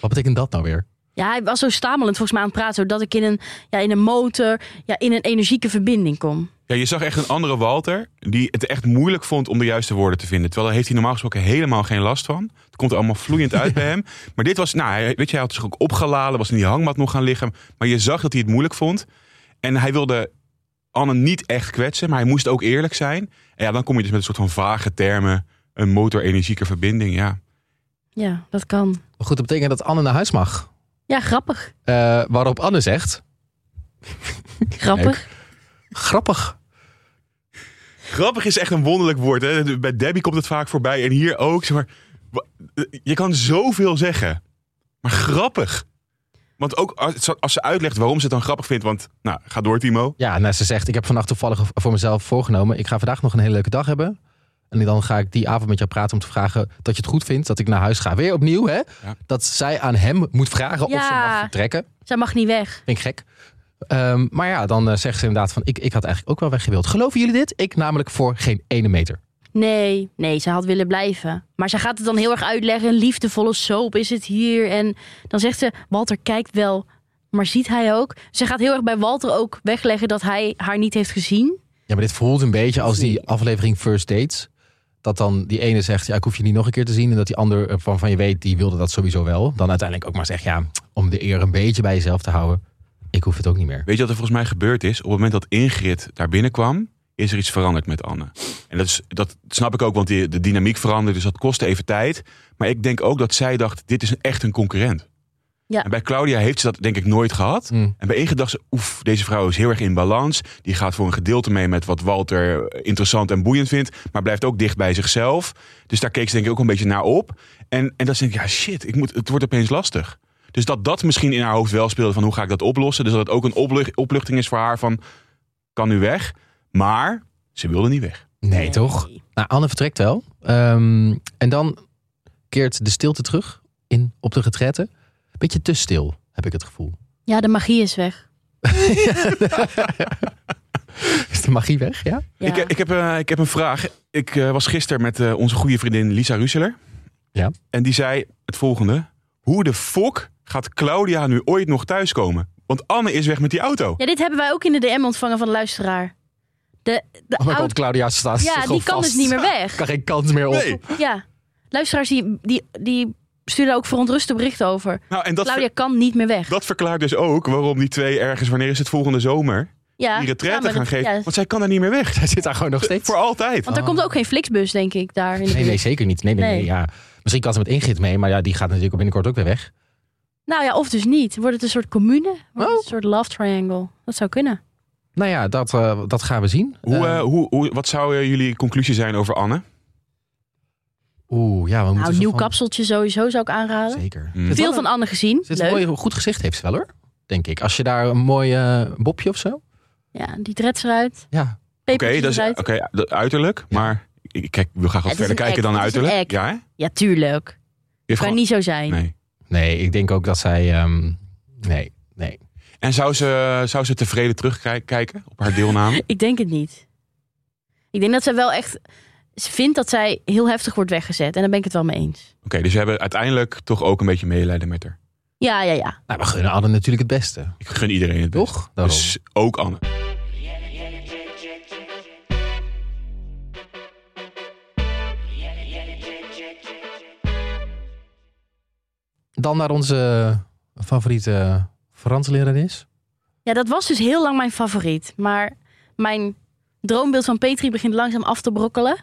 [SPEAKER 1] Wat betekent dat nou weer?
[SPEAKER 2] Ja, hij was zo stamelend volgens mij aan het praten. Zodat ik in een, ja, in een motor, ja, in een energieke verbinding kom.
[SPEAKER 3] Ja, je zag echt een andere Walter die het echt moeilijk vond om de juiste woorden te vinden. Terwijl daar heeft hij normaal gesproken helemaal geen last van. Het komt er allemaal vloeiend uit bij hem. Maar dit was, nou, hij- weet je, hij had zich ook opgeladen, was in die hangmat nog gaan liggen. Maar je zag dat hij het moeilijk vond. En hij wilde Anne niet echt kwetsen, maar hij moest ook eerlijk zijn. En ja, dan kom je dus met een soort van vage termen, een motor-energieke verbinding. Ja,
[SPEAKER 2] Ja, dat kan.
[SPEAKER 1] Maar goed, dat betekent dat Anne naar huis mag.
[SPEAKER 2] Ja, grappig.
[SPEAKER 1] Eh, waarop Anne zegt...
[SPEAKER 2] Grappig.
[SPEAKER 1] Grappig.
[SPEAKER 3] Grappig is echt een wonderlijk woord. Hè? Bij Debbie komt het vaak voorbij en hier ook. Zeg maar, wa- eh, je kan zoveel zeggen, maar grappig. Want ook als, als ze uitlegt waarom ze het dan grappig vindt. Want, nou, ga door Timo.
[SPEAKER 1] Ja, nou, ze zegt, ik heb vannacht toevallig voor mezelf voorgenomen. Ik ga vandaag nog een hele leuke dag hebben. En dan ga ik die avond met jou praten om te vragen dat je het goed vindt dat ik naar huis ga. Weer opnieuw, hè?
[SPEAKER 3] Ja.
[SPEAKER 1] Dat zij aan hem moet vragen of ze
[SPEAKER 2] Ja.
[SPEAKER 1] mag vertrekken.
[SPEAKER 2] Zij mag niet weg.
[SPEAKER 1] Vind ik gek. Ehm, maar ja, dan eh, zegt ze inderdaad van, ik, ik had eigenlijk ook wel weggewild. Geloven jullie dit? Ik namelijk voor geen ene meter.
[SPEAKER 2] Nee, nee, zij had willen blijven. Maar zij gaat het dan heel erg uitleggen. Een liefdevolle soap is het hier. En dan zegt ze, Walter kijkt wel, maar ziet hij ook? Ze gaat heel erg bij Walter ook wegleggen dat hij haar niet heeft gezien.
[SPEAKER 1] Ja, maar dit voelt een beetje als die aflevering First Dates. Dat dan die ene zegt, ja, ik hoef je niet nog een keer te zien. En dat die ander eh, van, van je weet, die wilde dat sowieso wel. Dan uiteindelijk ook maar zegt, ja, om de eer een beetje bij jezelf te houden. Ik hoef het ook niet meer.
[SPEAKER 3] Weet je wat er volgens mij gebeurd is? Op het moment dat Ingrid daar binnenkwam, is er iets veranderd met Anne. En dat, is, dat snap ik ook, want die, de dynamiek verandert. Dus dat kostte even tijd. Maar ik denk ook dat zij dacht, dit is een- echt een concurrent.
[SPEAKER 2] Ja.
[SPEAKER 3] En bij Claudia heeft ze dat denk ik nooit gehad.
[SPEAKER 1] Mm.
[SPEAKER 3] En bij Ingrid dacht ze, oef, deze vrouw is heel erg in balans. Die gaat voor een gedeelte mee met wat Walter interessant en boeiend vindt. Maar blijft ook dicht bij zichzelf. Dus daar keek ze denk ik ook een beetje naar op. En, en dat ze denkt, ja shit, ik moet, het wordt opeens lastig. Dus dat dat misschien in haar hoofd wel speelde van hoe ga ik dat oplossen. Dus dat het ook een opluch- opluchting is voor haar van, kan nu weg. Maar ze wilde niet weg.
[SPEAKER 1] Nee, toch? Nou, Anne vertrekt wel. Ehm, en dan keert de stilte terug in, op de retraite. Beetje te stil, heb ik het gevoel.
[SPEAKER 2] Ja, de magie is weg.
[SPEAKER 1] Is de magie weg, ja?
[SPEAKER 2] Ja.
[SPEAKER 3] Ik, ik, heb, eh, ik heb een vraag. Ik eh, was gisteren met eh, onze goede vriendin Lisa Ruseler.
[SPEAKER 1] Ja.
[SPEAKER 3] En die zei het volgende. Hoe de fok gaat Claudia nu ooit nog thuiskomen? Want Anne is weg met die auto.
[SPEAKER 2] Ja, dit hebben wij ook in de DM ontvangen van de luisteraar. De, de
[SPEAKER 1] Oh my
[SPEAKER 2] oud-
[SPEAKER 1] god, Claudia staat
[SPEAKER 2] ja,
[SPEAKER 1] gewoon
[SPEAKER 2] die kan
[SPEAKER 1] vast.
[SPEAKER 2] dus niet meer weg.
[SPEAKER 1] Kan geen kans meer op.
[SPEAKER 3] Nee.
[SPEAKER 2] Ja, luisteraars die, die, die sturen ook verontruste berichten over.
[SPEAKER 3] Nou, en dat, ver-
[SPEAKER 2] Claudia kan niet meer weg.
[SPEAKER 3] dat verklaart dus ook waarom die twee ergens, wanneer is het volgende zomer,
[SPEAKER 2] ja,
[SPEAKER 3] die
[SPEAKER 2] ja,
[SPEAKER 3] retraite
[SPEAKER 2] maar
[SPEAKER 3] gaan
[SPEAKER 2] dat-
[SPEAKER 3] geven.
[SPEAKER 2] ja,
[SPEAKER 3] Want zij kan er niet meer weg.
[SPEAKER 1] Zij zit daar gewoon nog steeds.
[SPEAKER 3] Voor altijd.
[SPEAKER 2] want er komt ook geen Flixbus, denk ik, daar. In de
[SPEAKER 1] Nee,
[SPEAKER 2] buurt.
[SPEAKER 1] nee, zeker niet. Nee, nee, nee.
[SPEAKER 2] Nee.
[SPEAKER 1] ja. Misschien kan ze met Ingrid mee, maar ja, die gaat natuurlijk binnenkort ook weer weg.
[SPEAKER 2] Nou ja, of dus niet. Wordt het een soort commune? Wordt het
[SPEAKER 1] Oh.
[SPEAKER 2] een soort love triangle? Dat zou kunnen.
[SPEAKER 1] Nou ja, dat, eh, dat gaan we zien.
[SPEAKER 3] Hoe,
[SPEAKER 1] Eh,
[SPEAKER 3] eh, hoe, hoe, wat zou eh, jullie conclusie zijn over Anne?
[SPEAKER 1] Oeh, ja, we moeten...
[SPEAKER 2] nou,
[SPEAKER 1] zo
[SPEAKER 2] nieuw
[SPEAKER 1] van-
[SPEAKER 2] kapseltje sowieso zou ik aanraden.
[SPEAKER 1] Zeker.
[SPEAKER 3] Mm.
[SPEAKER 1] Zit
[SPEAKER 2] Veel
[SPEAKER 1] wel
[SPEAKER 2] van Anne gezien.
[SPEAKER 1] een- Zit een
[SPEAKER 2] Leuk.
[SPEAKER 1] mooi, goed gezicht heeft ze wel, hoor. Denk ik. Als je daar een mooi eh, bobje of zo...
[SPEAKER 2] Ja, die dreads eruit.
[SPEAKER 1] Ja,
[SPEAKER 3] Oké, dus, eh,
[SPEAKER 2] Pepertjes
[SPEAKER 3] dat is
[SPEAKER 2] eruit.
[SPEAKER 3] oké, dat- uiterlijk. Maar ik, ik kijk, wil graag wat
[SPEAKER 2] Het is
[SPEAKER 3] verder
[SPEAKER 2] een
[SPEAKER 3] kijken
[SPEAKER 2] act,
[SPEAKER 3] dan
[SPEAKER 2] het is een
[SPEAKER 3] uiterlijk.
[SPEAKER 2] act.
[SPEAKER 3] Ja, hè? Je
[SPEAKER 2] Ja, tuurlijk.
[SPEAKER 3] heeft
[SPEAKER 2] Kan
[SPEAKER 3] gewoon-
[SPEAKER 2] niet zo zijn.
[SPEAKER 3] Nee.
[SPEAKER 1] Nee, ik denk ook dat zij. ehm, nee, nee.
[SPEAKER 3] En zou ze, zou ze tevreden terugkijken op haar deelname?
[SPEAKER 2] Ik denk het niet. Ik denk dat zij wel echt. vindt dat zij heel heftig wordt weggezet. En daar ben ik het wel mee eens.
[SPEAKER 3] dus we hebben uiteindelijk toch ook een beetje medelijden met haar.
[SPEAKER 2] Ja, ja, ja.
[SPEAKER 1] Nou, we gunnen Anne natuurlijk het beste.
[SPEAKER 3] Ik gun iedereen het best.
[SPEAKER 1] Toch? Daarom.
[SPEAKER 3] Dus ook Anne.
[SPEAKER 1] Dan naar onze favoriete Franslerares.
[SPEAKER 2] Ja, dat was dus heel lang mijn favoriet. Maar mijn droombeeld van Petri begint langzaam af te brokkelen.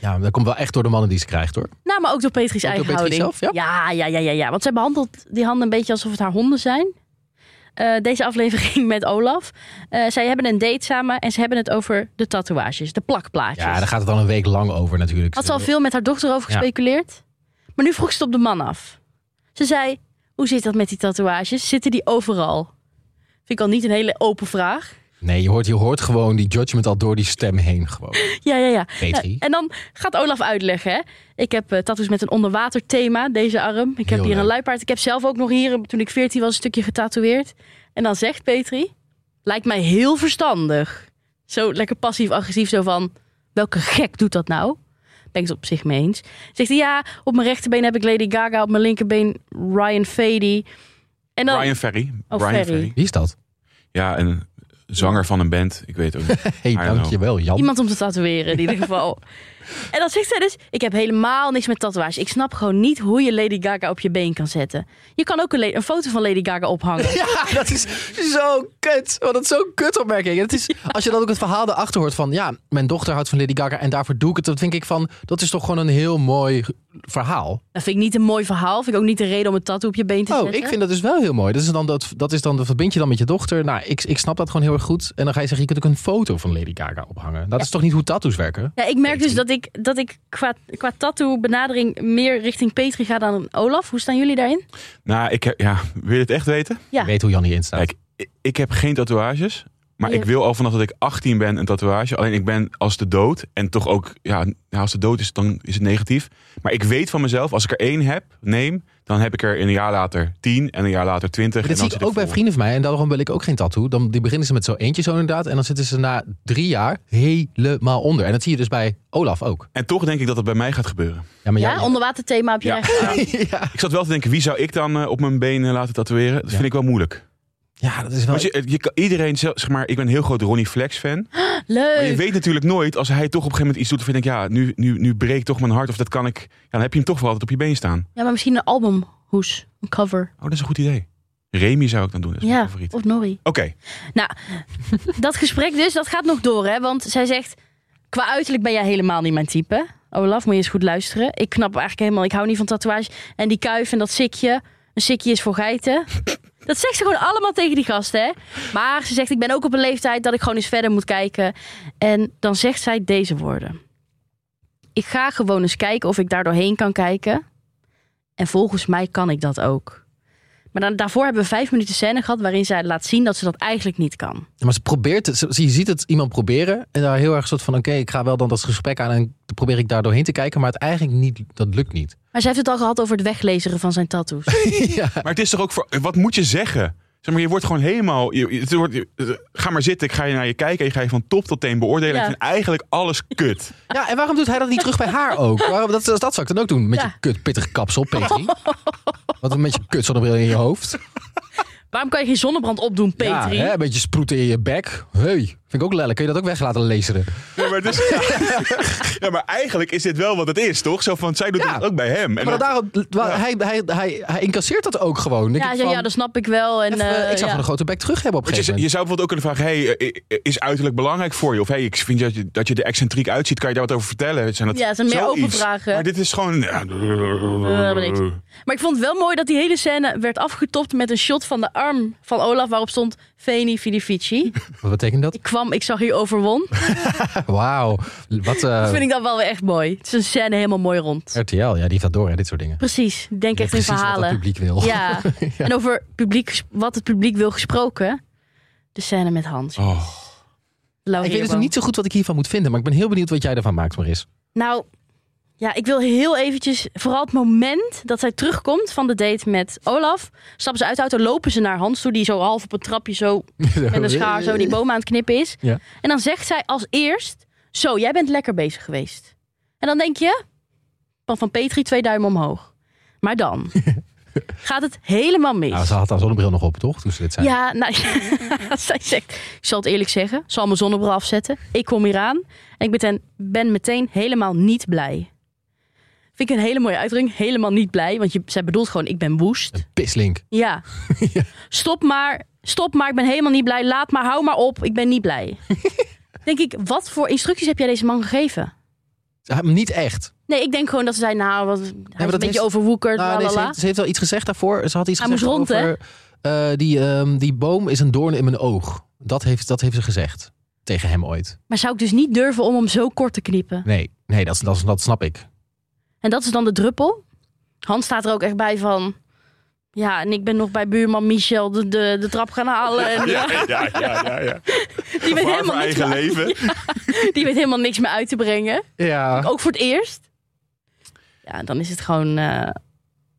[SPEAKER 1] Ja, maar dat komt wel echt door de mannen die ze krijgt hoor.
[SPEAKER 2] Nou, maar ook door Petri's
[SPEAKER 1] Ook
[SPEAKER 2] eigen
[SPEAKER 1] door Petri
[SPEAKER 2] houding.
[SPEAKER 1] zelf,
[SPEAKER 2] ja? Ja, ja, ja, ja. Want zij behandelt die handen een beetje alsof het haar honden zijn. Eh, deze aflevering met Olaf. Eh, zij hebben een date samen en ze hebben het over de tatoeages, de plakplaatjes.
[SPEAKER 1] Ja, daar gaat het al een week lang over natuurlijk.
[SPEAKER 2] Had ze al veel met haar dochter over
[SPEAKER 1] Ja.
[SPEAKER 2] gespeculeerd. Maar nu vroeg ze het op de man af. Ze zei, hoe zit dat met die tatoeages? Zitten die overal? Vind ik al niet een hele open vraag.
[SPEAKER 1] Nee, je hoort, je hoort gewoon die judgment al door die stem heen gewoon.
[SPEAKER 2] Ja, ja, ja.
[SPEAKER 1] Petri.
[SPEAKER 2] Ja, En dan gaat Olaf uitleggen. Hè? Ik heb eh tattoos met een onderwater thema, deze arm. Ik heb
[SPEAKER 1] Heel
[SPEAKER 2] hier een
[SPEAKER 1] leuk.
[SPEAKER 2] luipaard. Ik heb zelf ook nog hier, toen ik 14 was, een stukje getatoeëerd. En dan zegt Petri, lijkt mij heel verstandig. Zo lekker passief-agressief, zo van, welke gek doet dat nou? Ben ik het op zich mee eens. Zegt hij, ja, op mijn rechterbeen heb ik Lady Gaga, op mijn linkerbeen Ryan Fady. En dan,
[SPEAKER 3] Brian Ferry.
[SPEAKER 2] Oh,
[SPEAKER 3] Brian
[SPEAKER 2] Ferry.
[SPEAKER 3] Ferry.
[SPEAKER 1] Wie is dat?
[SPEAKER 3] Ja, een zanger van een band. Ik weet het ook niet.
[SPEAKER 1] Hé,
[SPEAKER 3] don't
[SPEAKER 1] dankjewel Jan.
[SPEAKER 2] Iemand om te tatoeëren in ieder geval. En dan zegt zij dus, ik heb helemaal niks met tatoeages. Ik snap gewoon niet hoe je Lady Gaga op je been kan zetten. Je kan ook een, le- een foto van Lady Gaga ophangen.
[SPEAKER 1] Ja, dat is zo kut. Wat dat is zo'n kutopmerking. Het is, als je dan ook het verhaal erachter hoort van... ja, mijn dochter houdt van Lady Gaga en daarvoor doe ik het. Dat vind ik van, dat is toch gewoon een heel mooi verhaal.
[SPEAKER 2] Dat vind ik niet een mooi verhaal. Vind ik ook niet de reden om een tattoo op je been te
[SPEAKER 1] Oh,
[SPEAKER 2] zetten.
[SPEAKER 1] ik vind dat dus wel heel mooi. Dat is dan, dat, dat is dan, dat verbind je dan met je dochter. Nou, ik, ik snap dat gewoon heel erg goed. En dan ga je zeggen, je kunt ook een foto van Lady Gaga ophangen. Dat is toch niet hoe tattoos werken?
[SPEAKER 2] Ja, ik merk dus dat ik, dat ik qua, qua tattoo benadering meer richting Petri ga dan Olaf. Hoe staan jullie daarin?
[SPEAKER 3] nou, ik heb, ja, wil je het echt weten?
[SPEAKER 2] Ja.
[SPEAKER 1] Je weet hoe Jan hierin staat.
[SPEAKER 3] Kijk, ik- ik heb geen tatoeages. Maar
[SPEAKER 2] Ja.
[SPEAKER 3] ik wil al vanaf dat ik 18 ben een tatoeage. Alleen ik ben als de dood. En toch ook, ja, ja, als de dood is, dan is het negatief. Maar ik weet van mezelf, als ik er één heb, neem. Dan heb ik er een jaar later 10 en een jaar later 20. en
[SPEAKER 1] Dit
[SPEAKER 3] dan
[SPEAKER 1] zie ik
[SPEAKER 3] zit
[SPEAKER 1] ook bij
[SPEAKER 3] vol.
[SPEAKER 1] vrienden van mij. En daarom wil ik ook geen tattoo. Dan die beginnen ze met zo eentje zo inderdaad. En dan zitten ze na drie jaar helemaal onder. En dat zie je dus bij Olaf ook.
[SPEAKER 3] En toch denk ik dat het bij mij gaat gebeuren.
[SPEAKER 1] Ja, maar
[SPEAKER 2] Ja,
[SPEAKER 1] Jan-
[SPEAKER 2] onderwater thema op je
[SPEAKER 3] Ja.
[SPEAKER 2] eigen arm.
[SPEAKER 1] ja.
[SPEAKER 3] Ik zat wel te denken, wie zou ik dan eh, op mijn benen laten tatoeëren? Dat
[SPEAKER 1] Ja.
[SPEAKER 3] vind ik wel moeilijk.
[SPEAKER 1] ja, dat is wel...
[SPEAKER 3] Want je, je, kan- iedereen, zelf- zeg maar, ik ben een heel groot Ronnie Flex fan. Maar je
[SPEAKER 2] Leuk.
[SPEAKER 3] weet natuurlijk nooit, als hij toch op een gegeven moment iets doet... of je denkt, ja, nu, nu, nu breekt toch mijn hart. Of dat kan ik... Ja, dan heb je hem toch wel altijd op je been staan.
[SPEAKER 2] Ja, maar misschien een albumhoes. Een cover.
[SPEAKER 3] Oh, dat is een goed idee. Remy zou ik dan doen, dat is mijn
[SPEAKER 2] Ja,
[SPEAKER 3] favoriet. Oké,
[SPEAKER 2] of Norrie. dat gesprek dus, dat gaat nog door, hè? Want zij zegt, qua uiterlijk ben jij helemaal niet mijn type. Olaf, moet je eens goed luisteren. Ik knap eigenlijk helemaal, ik hou niet van tatoeage. En die kuif en dat sikje, een sikje is voor geiten. Dat zegt ze gewoon allemaal tegen die gasten, hè? Maar ze zegt, ik ben ook op een leeftijd dat ik gewoon eens verder moet kijken. En dan zegt zij deze woorden. Ik ga gewoon eens kijken of ik daar doorheen kan kijken. En volgens mij kan ik dat ook. Maar dan, daarvoor hebben we vijf minuten scène gehad... waarin zij laat zien dat ze dat eigenlijk niet kan.
[SPEAKER 1] Maar ze probeert het. ze- Je ziet het iemand proberen. En daar heel erg soort van: oké, ik ga wel dan dat gesprek aan. En dan probeer ik daar doorheen te kijken. Maar het eigenlijk niet. Dat lukt niet.
[SPEAKER 2] Maar zij heeft het al gehad over het weglezeren van zijn tattoos.
[SPEAKER 1] ja.
[SPEAKER 3] maar het is toch ook voor... Wat moet je zeggen? Zeg maar, je wordt gewoon helemaal... Je, je- het wordt, je- ga maar zitten, ik ga je naar je kijken... en je ga je van top tot teen beoordelen.
[SPEAKER 2] Ja.
[SPEAKER 3] Ik vind eigenlijk alles kut.
[SPEAKER 1] ja, en waarom doet hij dat niet terug bij haar ook? Waarom, dat, dat zou ik dan ook doen. Met
[SPEAKER 2] Ja.
[SPEAKER 1] je kut pittig kapsel, Petri. Wat een beetje kut zonnebril in je hoofd.
[SPEAKER 2] Waarom kan je geen zonnebrand opdoen,
[SPEAKER 1] Ja,
[SPEAKER 2] Petri?
[SPEAKER 1] hè, een beetje sproeten in je bek. Hey, vind ik ook lelijk. Kun je dat ook weg laten lezen?
[SPEAKER 3] Ja, maar, dus, ja, maar eigenlijk is dit wel wat het is, toch? Zo van, zij doet
[SPEAKER 1] Ja.
[SPEAKER 3] het ook bij hem.
[SPEAKER 1] Maar
[SPEAKER 3] En dan-
[SPEAKER 1] daarom, wa-
[SPEAKER 3] Ja.
[SPEAKER 1] hij, hij, hij, hij incasseert dat ook gewoon. Denk
[SPEAKER 2] ja,
[SPEAKER 1] ik
[SPEAKER 2] ja,
[SPEAKER 1] van,
[SPEAKER 2] ja, dat snap ik wel. En,
[SPEAKER 1] even,
[SPEAKER 2] eh,
[SPEAKER 1] ik zou
[SPEAKER 2] ja.
[SPEAKER 1] gewoon een grote bek terug hebben op een
[SPEAKER 3] Want je,
[SPEAKER 1] gegeven
[SPEAKER 3] je
[SPEAKER 1] moment.
[SPEAKER 3] zou bijvoorbeeld ook kunnen vragen: hey, eh, is uiterlijk belangrijk voor je? Of hey, ik vind dat je, dat je er excentriek uitziet, kan je daar wat over vertellen? Zijn dat
[SPEAKER 2] Ja, het zijn meer open
[SPEAKER 3] zoiets?
[SPEAKER 2] vragen.
[SPEAKER 3] Maar dit is gewoon. Ja,
[SPEAKER 2] Eh, niks. Maar ik vond het wel mooi dat die hele scène werd afgetopt met een shot van de arm van Olaf... waarop stond Feni Fidifici.
[SPEAKER 1] Wat betekent dat?
[SPEAKER 2] Ik kwam, ik zag hier overwon.
[SPEAKER 1] Eh. Wauw. Wat eh
[SPEAKER 2] Dat vind ik dan wel weer echt mooi. Het is een scène helemaal mooi rond.
[SPEAKER 1] RTL, ja, die heeft dat door, hè, dit soort dingen.
[SPEAKER 2] Precies, ik denk
[SPEAKER 1] Eh. Ja,
[SPEAKER 2] echt in
[SPEAKER 1] precies wat het
[SPEAKER 2] verhalen.
[SPEAKER 1] publiek wil.
[SPEAKER 2] Ja. En over publiek, ges- wat het publiek wil gesproken. De scène met Hans.
[SPEAKER 3] Oh.
[SPEAKER 1] Ik weet dus niet zo goed wat ik hiervan moet vinden, maar ik ben heel benieuwd wat jij ervan maakt, Maris.
[SPEAKER 2] Nou, ja, ik wil heel eventjes... Vooral het moment dat zij terugkomt van de date met Olaf... stappen ze uit de auto, lopen ze naar Hans toe... die zo half op een trapje zo met een schaar zo die boom aan het knippen is.
[SPEAKER 1] Ja.
[SPEAKER 2] En dan zegt zij als eerst... Zo, jij bent lekker bezig geweest. En En dan denk je, van Van Petri twee duimen omhoog. Maar dan gaat het helemaal mis.
[SPEAKER 1] Nou, ze had haar zonnebril nog op, toch? Toen ze dit zei.
[SPEAKER 2] Ja, nou, zij zegt, ik zal het eerlijk zeggen, ik zal mijn zonnebril afzetten. Ik kom hier aan en ik ben, ben meteen helemaal niet blij. Vind ik een hele mooie uitdrukking, helemaal niet blij. Want je, zij bedoelt gewoon, ik ben woest.
[SPEAKER 1] Een pislink.
[SPEAKER 2] Ja.
[SPEAKER 1] Ja.
[SPEAKER 2] Stop maar, stop maar, ik ben helemaal niet blij. Laat maar, hou maar op, ik ben niet blij. denk ik, wat voor instructies heb jij deze man gegeven?
[SPEAKER 1] Ja, maar Niet echt.
[SPEAKER 2] Nee, ik denk gewoon dat ze zei, nou, wat, hij is een
[SPEAKER 1] dat
[SPEAKER 2] beetje
[SPEAKER 1] heeft-
[SPEAKER 2] overwoekerd,
[SPEAKER 1] Nou, nee, ze,
[SPEAKER 2] lalala.
[SPEAKER 1] heeft, ze heeft wel iets gezegd daarvoor. Ze had iets
[SPEAKER 2] Hij
[SPEAKER 1] gezegd
[SPEAKER 2] moest rond,
[SPEAKER 1] over... eh, die, ehm, die boom is een doorn in mijn oog. Dat heeft, dat heeft ze gezegd. Tegen hem ooit.
[SPEAKER 2] Maar zou ik dus niet durven om hem zo kort te kniepen?
[SPEAKER 1] Nee, nee dat, dat, dat snap ik.
[SPEAKER 2] En dat is dan de druppel. Hans staat er ook echt bij van... Ja, en ik ben nog bij buurman Michel de, de, de trap gaan halen. En,
[SPEAKER 3] Ja, ja, ja, ja. ja.
[SPEAKER 2] die, weet
[SPEAKER 3] Gevaar voor
[SPEAKER 2] helemaal niks
[SPEAKER 3] eigen
[SPEAKER 2] meer, uit-
[SPEAKER 3] leven.
[SPEAKER 2] die weet helemaal niks meer uit te brengen.
[SPEAKER 1] Ja.
[SPEAKER 2] Ook voor het eerst. Ja, dan is het gewoon eh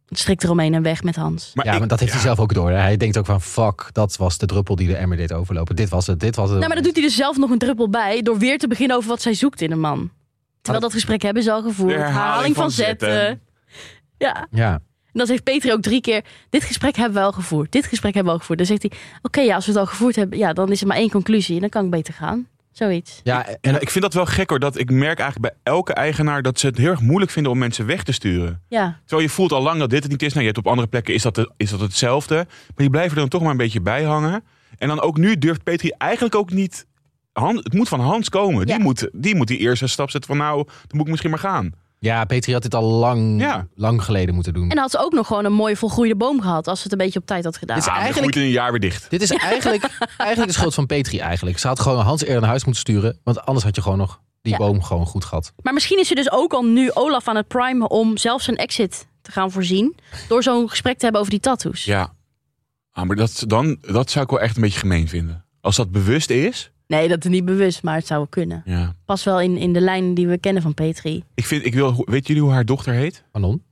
[SPEAKER 2] strikt eromheen en weg met Hans.
[SPEAKER 3] Maar
[SPEAKER 1] ja,
[SPEAKER 3] ik-
[SPEAKER 1] maar dat heeft
[SPEAKER 3] ja.
[SPEAKER 1] hij zelf ook door. Hij denkt ook van, fuck, dat was de druppel die de emmer deed overlopen. Dit was het, dit was het.
[SPEAKER 2] Nou, maar dat doet hij dus zelf nog een druppel bij... door weer te beginnen over wat zij zoekt in een man. Terwijl dat gesprek hebben ze al gevoerd.
[SPEAKER 3] De herhaling
[SPEAKER 2] Herhaling van,
[SPEAKER 3] van
[SPEAKER 2] zetten.
[SPEAKER 3] zetten.
[SPEAKER 2] Ja,
[SPEAKER 1] Ja,
[SPEAKER 2] En dat heeft Peter ook drie keer. Dit gesprek hebben we al gevoerd. Dit gesprek hebben we al gevoerd. Dan zegt hij: Oké, ja, als we het al gevoerd hebben, ja, dan is er maar één conclusie. En dan kan ik beter gaan. Zoiets.
[SPEAKER 1] ja
[SPEAKER 3] En
[SPEAKER 1] en
[SPEAKER 3] ik vind dat wel gek hoor. Dat ik merk eigenlijk bij elke eigenaar dat ze het heel erg moeilijk vinden om mensen weg te sturen.
[SPEAKER 2] Ja.
[SPEAKER 3] Terwijl je voelt al lang dat dit het niet is. Nou, je hebt op andere plekken is dat, de- is dat hetzelfde. Maar die blijven er dan toch maar een beetje bij hangen. En dan ook nu durft Petri eigenlijk ook niet. Han- het moet van Hans komen.
[SPEAKER 2] Ja.
[SPEAKER 3] Die, moet, die moet die eerste stap zetten van nou, dan moet ik misschien maar gaan.
[SPEAKER 1] ja, Petri had dit al lang,
[SPEAKER 3] Ja.
[SPEAKER 1] lang geleden moeten doen.
[SPEAKER 2] En dan had ze ook nog gewoon een mooie volgroeide boem gehad. Als ze het een beetje op tijd had gedaan.
[SPEAKER 1] Dit is
[SPEAKER 3] Ah, maar dan
[SPEAKER 1] eigenlijk-
[SPEAKER 3] groeit in een jaar weer dicht.
[SPEAKER 1] Dit is eigenlijk, eigenlijk de schuld van Petri eigenlijk. Ze had gewoon Hans eerder naar huis moeten sturen. Want anders had je gewoon nog die
[SPEAKER 2] Ja.
[SPEAKER 1] boom gewoon goed gehad.
[SPEAKER 2] Maar misschien is ze dus ook al nu Olaf aan het primen om zelf zijn exit te gaan voorzien. Door zo'n gesprek te hebben over die tattoos.
[SPEAKER 3] Ja. Ah, maar dat, dan, dat zou ik wel echt een beetje gemeen vinden. Als dat bewust is.
[SPEAKER 2] Nee, dat is niet bewust, maar het zou wel kunnen.
[SPEAKER 3] Ja.
[SPEAKER 2] Pas wel in, in de lijn die we kennen van Petri.
[SPEAKER 3] Ik vind, ik wil, weet jullie hoe haar dochter heet?
[SPEAKER 1] Manon?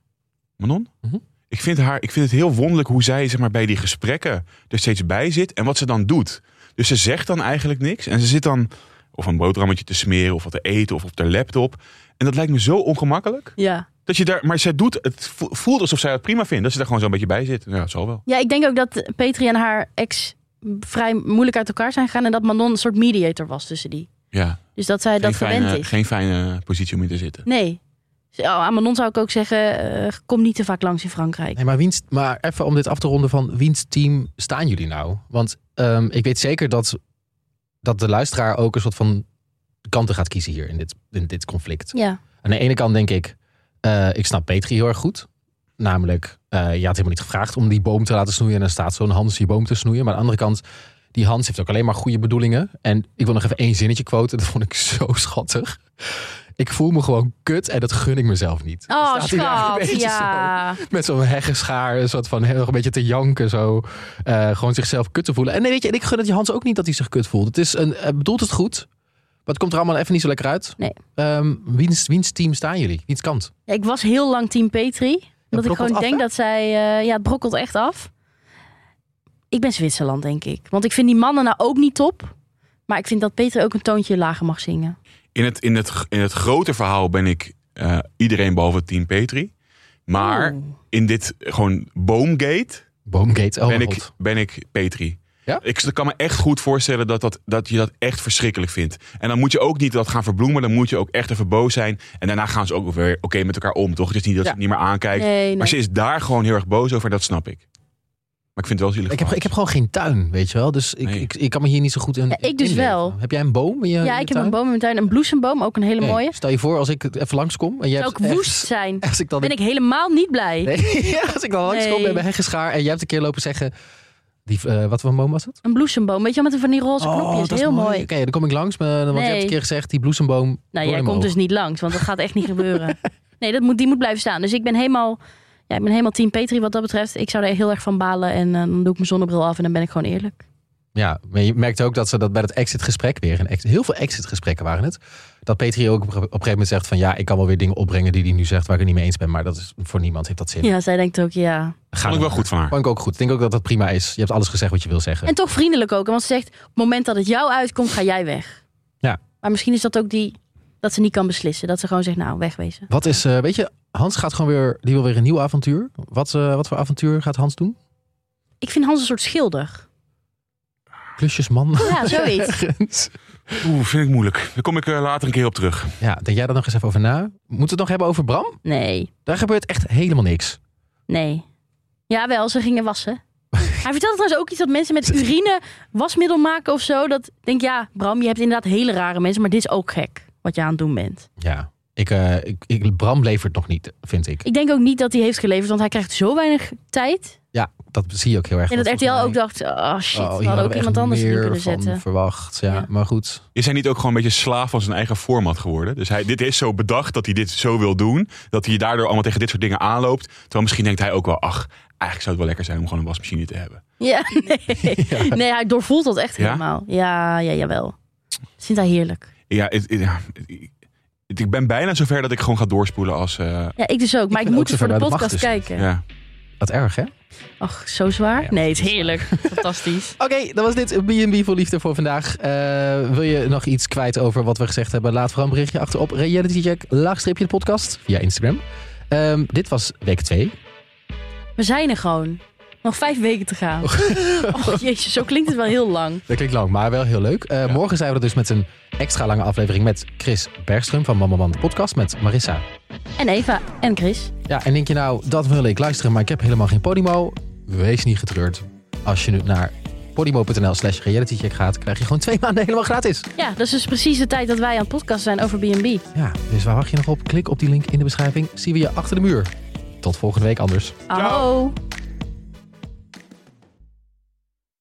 [SPEAKER 3] Manon?
[SPEAKER 1] Mhm.
[SPEAKER 3] ik, vind haar, ik vind het heel wonderlijk hoe zij zeg maar, bij die gesprekken er steeds bij zit en wat ze dan doet. Dus ze zegt dan eigenlijk niks en ze zit dan of een boterhammetje te smeren of wat te eten of op haar laptop. En dat lijkt me zo ongemakkelijk.
[SPEAKER 2] Ja.
[SPEAKER 3] Dat je daar, maar zij doet, het vo- voelt alsof zij het prima vindt. Dat ze daar gewoon zo'n beetje bij zit. Ja, het zal wel.
[SPEAKER 2] Ja, ik denk ook dat Petri en haar ex vrij moeilijk uit elkaar zijn gegaan. En dat Manon een soort mediator was tussen die.
[SPEAKER 3] Ja,
[SPEAKER 2] Dus dat zij dat gewend
[SPEAKER 3] fijne,
[SPEAKER 2] is.
[SPEAKER 3] geen fijne positie om in te zitten.
[SPEAKER 2] Nee. Z- oh, aan Manon zou ik ook zeggen, eh, kom niet te vaak langs in Frankrijk.
[SPEAKER 1] Nee, maar, wiens, maar even om dit af te ronden van wiens team staan jullie nou? Want ehm, ik weet zeker dat, dat de luisteraar ook een soort van kanten gaat kiezen hier in dit, in dit conflict.
[SPEAKER 2] Ja.
[SPEAKER 1] Aan de ene kant denk ik, eh, ik snap Petri heel erg goed. Namelijk, eh, je had helemaal niet gevraagd om die boom te laten snoeien. En dan staat zo'n Hans die boom te snoeien. Maar aan de andere kant, die Hans heeft ook alleen maar goede bedoelingen. En ik wil nog even één zinnetje quoten. Dat vond ik zo schattig. Ik voel me gewoon kut en dat gun ik mezelf niet. Dan
[SPEAKER 2] Oh,
[SPEAKER 1] staat hij daar een
[SPEAKER 2] schat.
[SPEAKER 1] beetje
[SPEAKER 2] Ja.
[SPEAKER 1] zo met zo'n heggenschaar, een soort van heel erg een beetje te janken. Zo. Eh, gewoon zichzelf kut te voelen. En nee, weet je, en ik gun het je Hans ook niet dat hij zich kut voelt. Het is een, hij bedoelt het goed, maar het komt er allemaal even niet zo lekker uit.
[SPEAKER 2] Nee.
[SPEAKER 1] Ehm, wiens, wiens team staan jullie? Wiens kant?
[SPEAKER 2] Ja, ik was heel lang team Petri. Omdat ik
[SPEAKER 1] brokkelt
[SPEAKER 2] gewoon
[SPEAKER 1] af,
[SPEAKER 2] denk
[SPEAKER 1] hè?
[SPEAKER 2] dat zij... eh, ja, het brokkelt echt af. Ik ben Zwitserland, denk ik. Want ik vind die mannen nou ook niet top. Maar ik vind dat Petri ook een toontje lager mag zingen.
[SPEAKER 3] In het, in het, in het grote verhaal ben ik eh, iedereen behalve het team Petri. Maar
[SPEAKER 2] Oeh.
[SPEAKER 3] in dit gewoon boomgate
[SPEAKER 1] Boomgate. Oh,
[SPEAKER 3] ben,
[SPEAKER 1] mijn
[SPEAKER 3] ik,
[SPEAKER 1] god.
[SPEAKER 3] ben ik Petri.
[SPEAKER 1] Ja?
[SPEAKER 3] Ik kan me echt goed voorstellen dat, dat, dat je dat echt verschrikkelijk vindt. En dan moet je ook niet dat gaan verbloemen. Dan moet je ook echt even boos zijn. En daarna gaan ze ook weer oké met elkaar om, toch? Het is niet dat
[SPEAKER 1] Ja.
[SPEAKER 3] ze het niet meer aankijkt.
[SPEAKER 2] Nee, nee.
[SPEAKER 3] Maar ze is daar gewoon heel erg boos over. Dat snap ik. Maar ik vind het wel zielig.
[SPEAKER 1] Ik
[SPEAKER 3] van
[SPEAKER 1] heb, ik heb
[SPEAKER 3] Hans.
[SPEAKER 1] gewoon geen tuin, weet je wel. Dus ik,
[SPEAKER 3] Nee.
[SPEAKER 1] ik, ik kan me hier niet zo goed in.
[SPEAKER 2] Ja, ik dus
[SPEAKER 1] inleven.
[SPEAKER 2] wel.
[SPEAKER 1] Heb jij een boom? In je, in
[SPEAKER 2] Ja,
[SPEAKER 1] je
[SPEAKER 2] ik heb een
[SPEAKER 1] tuin?
[SPEAKER 2] boom in mijn tuin. Een bloesemboom, ook een hele
[SPEAKER 1] Nee.
[SPEAKER 2] mooie.
[SPEAKER 1] Stel je voor als ik even langskom en jij
[SPEAKER 2] Zou
[SPEAKER 1] hebt
[SPEAKER 2] ik
[SPEAKER 1] echt-
[SPEAKER 2] woest zijn?
[SPEAKER 1] Als ik dan
[SPEAKER 2] Ben ik helemaal niet blij.
[SPEAKER 1] Nee, ja, als ik dan langskom
[SPEAKER 2] Nee.
[SPEAKER 1] bij mijn heggenschaar en jij hebt een keer lopen zeggen. Die, eh, wat voor een boom was het?
[SPEAKER 2] Een bloesemboom, weet je wel, met van die roze knopjes.
[SPEAKER 1] Oh, dat is
[SPEAKER 2] Heel mooi.
[SPEAKER 1] Oké, dan kom ik langs, me, want je hebt
[SPEAKER 2] Nee.
[SPEAKER 1] een keer gezegd, die bloesemboom.
[SPEAKER 2] Nou, jij komt dus niet langs, want dat gaat echt niet gebeuren. Nee, dat moet, die moet blijven staan. Dus ik ben helemaal, ja, ik ben helemaal team Petri wat dat betreft. Ik zou daar heel erg van balen en eh, dan doe ik mijn zonnebril af en dan ben ik gewoon eerlijk.
[SPEAKER 1] Ja, maar je merkt ook dat ze dat bij het exitgesprek weer, een exit, heel veel exitgesprekken waren het, dat Petri ook op een gegeven moment zegt van ja, ik kan wel weer dingen opbrengen die hij nu zegt waar ik het niet mee eens ben, maar dat is voor niemand heeft dat zin.
[SPEAKER 2] Ja, zij denkt ook, ja.
[SPEAKER 1] Ga
[SPEAKER 3] Vond ik
[SPEAKER 1] dan
[SPEAKER 3] wel
[SPEAKER 1] maar.
[SPEAKER 3] goed van haar.
[SPEAKER 1] Vond ik ook goed. Ik denk ook dat dat prima is. Je hebt alles gezegd wat je wil zeggen.
[SPEAKER 2] En toch vriendelijk ook, want ze zegt, op het moment dat het jou uitkomt, ga jij weg.
[SPEAKER 1] Ja.
[SPEAKER 2] Maar misschien is dat ook die, dat ze niet kan beslissen. Dat ze gewoon zegt, nou, wegwezen.
[SPEAKER 1] Wat is, eh, weet je, Hans gaat gewoon weer, die wil weer een nieuw avontuur. Wat, eh, wat voor avontuur gaat Hans doen?
[SPEAKER 2] Ik vind Hans een soort schilder.
[SPEAKER 1] Klusjesman.
[SPEAKER 2] Ja, zoiets.
[SPEAKER 3] Oeh, vind ik moeilijk. Daar kom ik eh, later een keer op terug.
[SPEAKER 1] ja, denk jij daar nog eens even over na. Moeten we het nog hebben over Bram?
[SPEAKER 2] Nee,
[SPEAKER 1] Daar gebeurt echt helemaal niks.
[SPEAKER 2] nee. Jawel, ze gingen wassen. Hij vertelde trouwens ook iets dat mensen met urine wasmiddel maken of zo. Dat ik denk ja, Bram, je hebt inderdaad hele rare mensen, maar dit is ook gek wat je aan het doen bent.
[SPEAKER 1] Ja, ik, eh, ik, ik, Bram levert nog niet, vind ik.
[SPEAKER 2] Ik denk ook niet dat hij heeft geleverd, want hij krijgt zo weinig tijd.
[SPEAKER 1] Ja, dat zie je ook heel erg.
[SPEAKER 2] En dat
[SPEAKER 1] Want
[SPEAKER 2] RTL
[SPEAKER 1] volgens mij-
[SPEAKER 2] ook dacht, oh shit,
[SPEAKER 1] Oh,
[SPEAKER 2] we
[SPEAKER 1] hier
[SPEAKER 2] hadden ook
[SPEAKER 1] we
[SPEAKER 2] iemand
[SPEAKER 1] echt
[SPEAKER 2] anders in
[SPEAKER 1] meer
[SPEAKER 2] kunnen
[SPEAKER 1] van
[SPEAKER 2] zetten.
[SPEAKER 1] verwacht, ja.
[SPEAKER 2] Ja.
[SPEAKER 1] Maar goed.
[SPEAKER 3] Is hij niet ook gewoon een beetje slaaf van zijn eigen format geworden? Dus hij, dit is zo bedacht dat hij dit zo wil doen. Dat hij daardoor allemaal tegen dit soort dingen aanloopt. Terwijl misschien denkt hij ook wel, ach, eigenlijk zou het wel lekker zijn om gewoon een wasmachine te hebben.
[SPEAKER 2] Ja, nee. nee, hij doorvoelt dat echt
[SPEAKER 3] Ja?
[SPEAKER 2] helemaal. Ja, ja, jawel. Dat vindt hij heerlijk.
[SPEAKER 3] Ja, het- het- ja, het- het- ik ben bijna zover dat ik gewoon ga doorspoelen als... eh,
[SPEAKER 2] Ja, ik dus ook, maar
[SPEAKER 1] Ik ben
[SPEAKER 2] ik, moet
[SPEAKER 1] ook
[SPEAKER 2] het voor de
[SPEAKER 1] zover bij de
[SPEAKER 2] podcast
[SPEAKER 1] macht dus.
[SPEAKER 2] kijken.
[SPEAKER 3] ja.
[SPEAKER 1] Wat erg, hè? Oké,
[SPEAKER 2] Ach, zo zwaar?
[SPEAKER 1] Ja,
[SPEAKER 2] nee, het is heerlijk. Fantastisch.
[SPEAKER 1] dat was dit B&B voor Liefde voor vandaag. Eh, wil je nog iets kwijt over wat we gezegd hebben? Laat vooral een berichtje achter op realitycheck, laagstreepje de podcast, via Instagram. Ehm, dit was week 2.
[SPEAKER 2] We zijn er gewoon. Nog vijf weken te gaan. Oh, jezus, zo klinkt het wel heel lang.
[SPEAKER 1] Dat klinkt lang, maar wel heel leuk. Eh, Morgen zijn we er dus met een extra lange aflevering met Chris Bergström van Mama Man de Podcast met Marissa.
[SPEAKER 2] En Eva en Chris.
[SPEAKER 1] Ja, en denk je nou, dat wil ik luisteren, maar ik heb helemaal geen Podimo? Wees niet getreurd. Als je nu naar podimo.nl slash realitycheck gaat, krijg je gewoon twee maanden helemaal gratis.
[SPEAKER 2] Ja, dat is dus precies de tijd dat wij aan het podcast zijn over B&B.
[SPEAKER 1] Ja, dus waar wacht je nog op? Klik op die link in de beschrijving. Zien we je achter de muur. Tot volgende week anders.
[SPEAKER 2] Hallo.